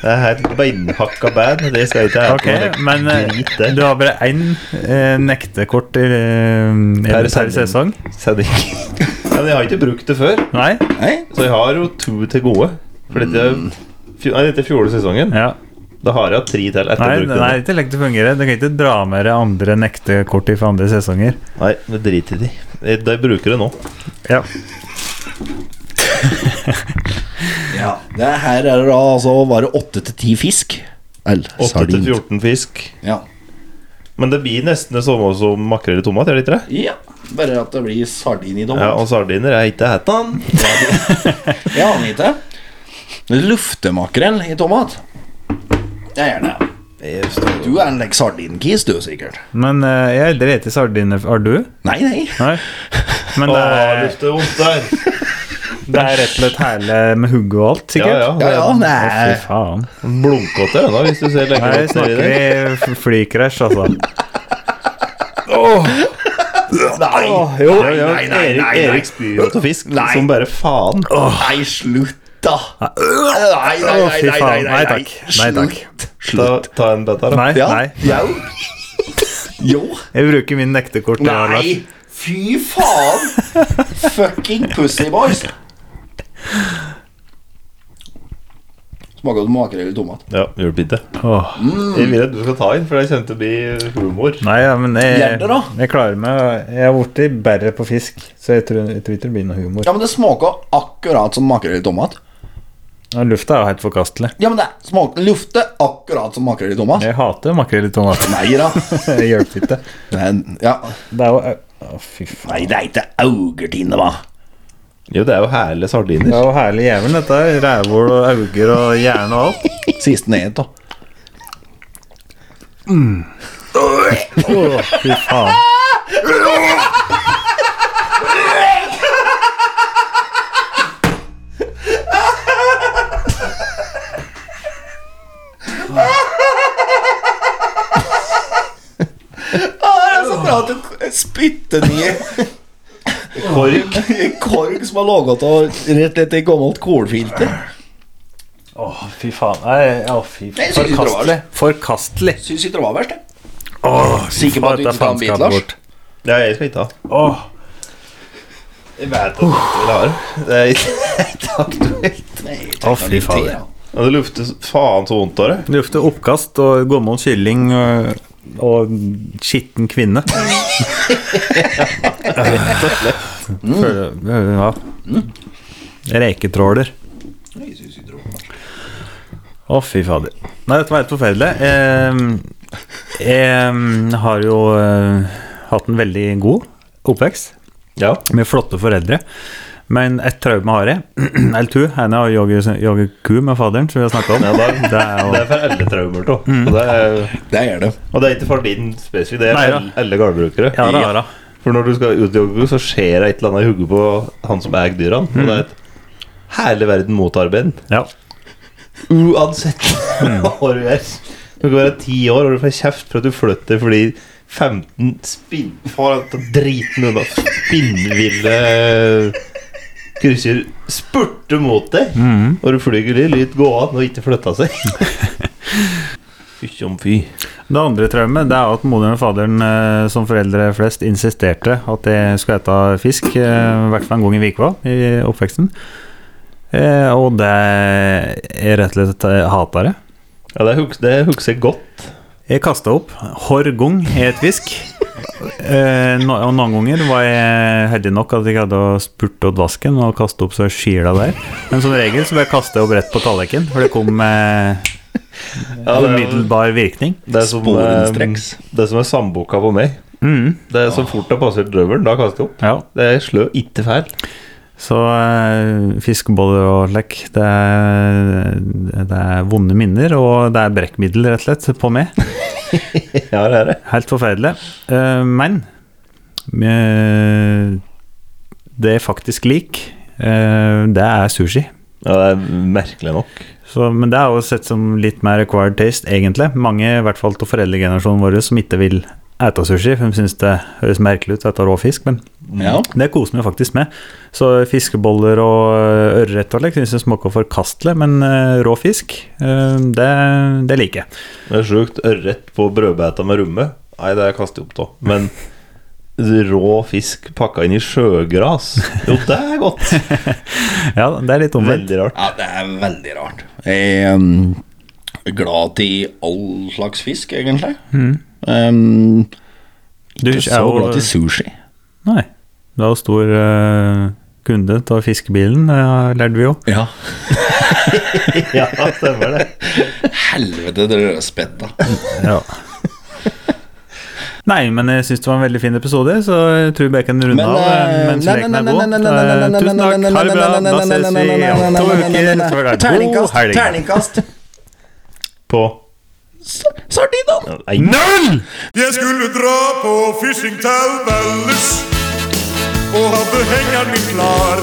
Speaker 4: Det er helt beinhakka bad. Det skal jeg ikke ha.
Speaker 1: Ok, men eh,
Speaker 4: Drit det.
Speaker 1: du har bare én eh, nektekort i, eh, per, per sesong?
Speaker 4: Sending. Ja, men jeg har ikke brukt det før,
Speaker 1: Nei?
Speaker 3: Nei,
Speaker 4: så jeg har jo to til gode. For dette fjo- Nei, dette er fjorårssesongen.
Speaker 1: Ja.
Speaker 4: Da har jeg hatt tre til etter
Speaker 1: Nei,
Speaker 4: å bruke
Speaker 1: det er
Speaker 4: det.
Speaker 1: ikke lett å fungere. Du kan ikke dra med deg andre nektekort fra andre sesonger.
Speaker 4: Nei, men drit i de. Jeg, de bruker det nå.
Speaker 1: Ja.
Speaker 3: Ja, det her er det da altså bare 8 til 10 fisk. Eller
Speaker 4: 8 til
Speaker 3: sardin.
Speaker 4: 14 fisk.
Speaker 3: Ja.
Speaker 4: Men det blir nesten det samme som makrell i tomat, gjør det ikke det?
Speaker 3: ja. Bare at det blir sardin i
Speaker 4: Ja,
Speaker 3: dommen.
Speaker 4: og sardiner er ikke hettan.
Speaker 3: Jeg aner ikke. Luftemakrell i tomat. Det er gjerne Du er en like, sardinkis, du, sikkert.
Speaker 1: Men eh, jeg driter i sardiner. Har du?
Speaker 3: Nei, nei.
Speaker 1: Nei. Men
Speaker 4: Å,
Speaker 1: det er,
Speaker 4: lukter vondt der.
Speaker 1: det er rett og slett hæle med hugg og alt,
Speaker 4: Ja,
Speaker 1: sikkert?
Speaker 4: ja.
Speaker 3: Ja, ja,
Speaker 1: Å, fy
Speaker 3: nei.
Speaker 1: faen.
Speaker 4: Blunkete ennå, hvis du ser lenge
Speaker 1: Her
Speaker 4: nok nedi
Speaker 1: snakker
Speaker 4: der.
Speaker 1: vi f- flykrasj, altså.
Speaker 3: Nei,
Speaker 4: Jo,
Speaker 3: nei,
Speaker 4: jo,
Speaker 3: nei, nei,
Speaker 4: Erik,
Speaker 3: nei,
Speaker 4: Erik spyr jo til fisk
Speaker 3: Nei.
Speaker 4: som bare faen.
Speaker 3: Nei, slutt, da. Nei, nei,
Speaker 1: Å,
Speaker 3: nei,
Speaker 1: fy
Speaker 3: nei, nei,
Speaker 1: faen.
Speaker 3: nei,
Speaker 1: Nei takk. Nei takk.
Speaker 3: Slutt.
Speaker 4: Ta,
Speaker 3: Slutt.
Speaker 4: ta en bit her, da.
Speaker 1: Nei,
Speaker 3: Ja,
Speaker 1: nei.
Speaker 3: jo. Jo.
Speaker 1: Jeg altså. bruker min nektekort. ja, Lars.
Speaker 3: Nei. Fy faen. Fucking pussy boys. Smaker det makrell i tomat?
Speaker 4: Ja, julebitte.
Speaker 1: Åh.
Speaker 4: Jeg vil at du skal ta den, for det kommer til å bli humor.
Speaker 1: Nei, ja, men jeg,
Speaker 3: Gjør det da.
Speaker 1: jeg klarer meg. Jeg har blitt bedre på fisk, så jeg tror, jeg tror ikke det blir noe humor.
Speaker 3: Ja, men det smaker akkurat som makrell i tomat.
Speaker 1: Ja, Lufta er jo helt forkastelig.
Speaker 3: Ja, men det smaker lufter akkurat som makrell i tomat.
Speaker 1: Jeg hater makrell i tomat.
Speaker 3: Nei da.
Speaker 1: Det hjelper ikke.
Speaker 3: Men, ja.
Speaker 1: Det er jo eh, Å, fy faen.
Speaker 3: Nei, det er ikke augertine, hva?
Speaker 4: Jo, det er jo herlige
Speaker 1: Det
Speaker 4: sardiner.
Speaker 1: er jo herlig jævel, dette her. Rævhål og auger og hjerne og alt.
Speaker 3: Siste ned, da.
Speaker 1: Å, fy faen.
Speaker 3: Det er så bra at du spytter ned
Speaker 4: Kork.
Speaker 3: en korg som har laget av rett og slett et gammelt kolfilter.
Speaker 1: Å, fy faen. Nei, å, fy
Speaker 3: Jeg synes ikke
Speaker 1: faen.
Speaker 3: det var
Speaker 1: Forkastelig. Forkastelig.
Speaker 3: Syns ikke det var verst, jeg.
Speaker 1: Å, fy
Speaker 3: Sikker på at du ikke
Speaker 1: faen, det er
Speaker 3: tar en bit,
Speaker 1: faenskap
Speaker 3: Lars?
Speaker 1: bort.
Speaker 4: Nei, jeg skal ikke ta.
Speaker 1: Å,
Speaker 4: Jeg vet at du ikke vil ha det. Det er ikke aktuelt.
Speaker 1: å, fy faen.
Speaker 4: Ja, det lukter faen så vondt av det.
Speaker 1: Det lukter oppkast og gammel kylling og, og skitten kvinne. Føler- Ja. Reketråler. Å, fy fader. Nei, dette var helt forferdelig. Eh, Jeg har jo eh, hatt en veldig god oppvekst
Speaker 4: Ja.
Speaker 1: med flotte foreldre. Men et traume har jeg. Eller to. En er å jogge- jogge ku med faderen, som vi har snakka om.
Speaker 4: Ja, da-
Speaker 1: det er jo Mm.
Speaker 4: Det er for alle traumer, da. Og det er-
Speaker 3: Det er det.
Speaker 4: Og det er ikke for din spesifikt, det er
Speaker 1: Nei,
Speaker 4: for
Speaker 1: da.
Speaker 4: alle- alle gårdbrukere.
Speaker 1: Ja, det er det.
Speaker 4: For når du skal ut i joggekur, så skjer det et eller annet i hodet på han som eier dyra. Og det er et
Speaker 1: Mm.
Speaker 4: herlig verden motarbeid.
Speaker 1: Ja.
Speaker 4: Uansett hva du gjør. Du kan være ti år og du får kjeft for at du flytter fordi 15 spinn... Får alt det driten unna spinnville krysser spurter mot deg, og du flyger litt lyt gå an og ikke flytta seg. Fy om fy.
Speaker 1: Det andre traumet det er at moderen og faderen eh, som foreldre flest insisterte at jeg skulle ete fisk, eh, i hvert fall en gang i uka i oppveksten. Eh, og det er rett og slett jeg hater det.
Speaker 4: Ja, det hus- det husker jeg godt.
Speaker 1: Jeg kasta opp hver gang jeg et fisk. Eh, no, og noen ganger var jeg heldig nok at jeg hadde spurt åt vasken og kastet opp så skila der. Men som regel så bare kastet jeg opp rett på tallerkenen, for det kom med
Speaker 4: Ja, det, er-
Speaker 1: umiddelbar virkning.
Speaker 4: det, er som, eh,
Speaker 3: Sporenstreks.
Speaker 4: det er som er samboka på meg. Det er Så fort det passer drøvelen, da kaster jeg opp.
Speaker 1: Ja,
Speaker 4: Det slår ikke feil.
Speaker 1: Så eh, fiskeboller og lekk, det er, det er vonde minner, og det er brekkmiddel, rett og slett, på meg.
Speaker 4: Ja, det er det.
Speaker 1: Helt forferdelig. Eh, men eh, det jeg faktisk liker, eh, det er sushi.
Speaker 4: Ja, det er merkelig nok.
Speaker 1: Så, men det er jo sett som litt mer acquired taste, egentlig. Mange, i hvert fall til foreldregenerasjonen vår, som ikke vil ete sushi. For de syns det høres merkelig ut å ete rå fisk, men
Speaker 3: Ja.
Speaker 1: Det koser vi faktisk med. Så fiskeboller og eh, ørret og slik syns jeg smaker forkastelig, men eh, rå fisk, eh, det, det liker jeg.
Speaker 4: Det er sjukt. Ørret på brødbeita med rømme. Nei, det kaster jeg opp av. Men rå fisk pakka inn i sjøgras Jo, det er godt.
Speaker 1: Ja, det er litt omvendt.
Speaker 4: Veldig rart.
Speaker 3: ja, det er veldig rart. Jeg er um, glad i all slags fisk, egentlig. Um,
Speaker 1: Du
Speaker 3: ikke så glad i sushi.
Speaker 1: Nei. Du er jo stor eh, kunde av fiskebilen, eh, lærte vi jo.
Speaker 3: Ja.
Speaker 4: Ja, stemmer det.
Speaker 3: Helvete, det rødspetta.
Speaker 1: Ja. Nei, men jeg syns det var en veldig fin episode, så jeg tror vi kan runde
Speaker 3: Men,
Speaker 1: av eh,
Speaker 3: eh,
Speaker 1: mens
Speaker 3: nei,
Speaker 1: leken
Speaker 3: nei,
Speaker 1: er
Speaker 3: nei,
Speaker 1: god.
Speaker 3: nei, nei, nei,
Speaker 1: Eh,
Speaker 3: nei, nei,
Speaker 1: Tusen takk,
Speaker 3: nei,
Speaker 1: ha det bra,
Speaker 3: nei, nei,
Speaker 1: da ses vi om to uker. Så er det God
Speaker 3: Terningkast.
Speaker 1: helg.
Speaker 3: Terningkast.
Speaker 4: På
Speaker 3: Sardina!
Speaker 4: Null!
Speaker 10: Jeg skulle dra på fishing til Valles Og hadde hengeren min klar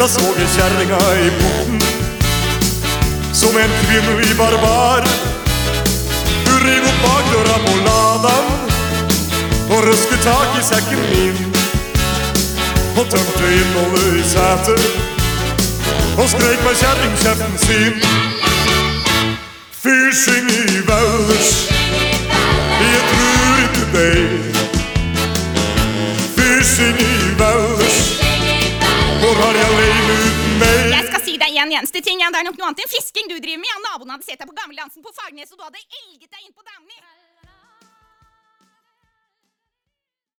Speaker 10: Da så jeg kjerringa i porten Som en kvinnelig barbar Hun rev opp bakdøra på ladan Og røsket tak i sekken min Og tømte innholdet i setet Og skrek med kjerringkjeften sin Fishing i Valles jeg tror ikke deg Fysing i Valdres Hvor har jeg leid uten meg
Speaker 7: Jeg skal si deg igjen, Jens. Det ting er nok noe annet enn fisking du driver med. Ja, naboen hadde sett deg på gamledansen på Fagernes, og du hadde elget deg inn på damene.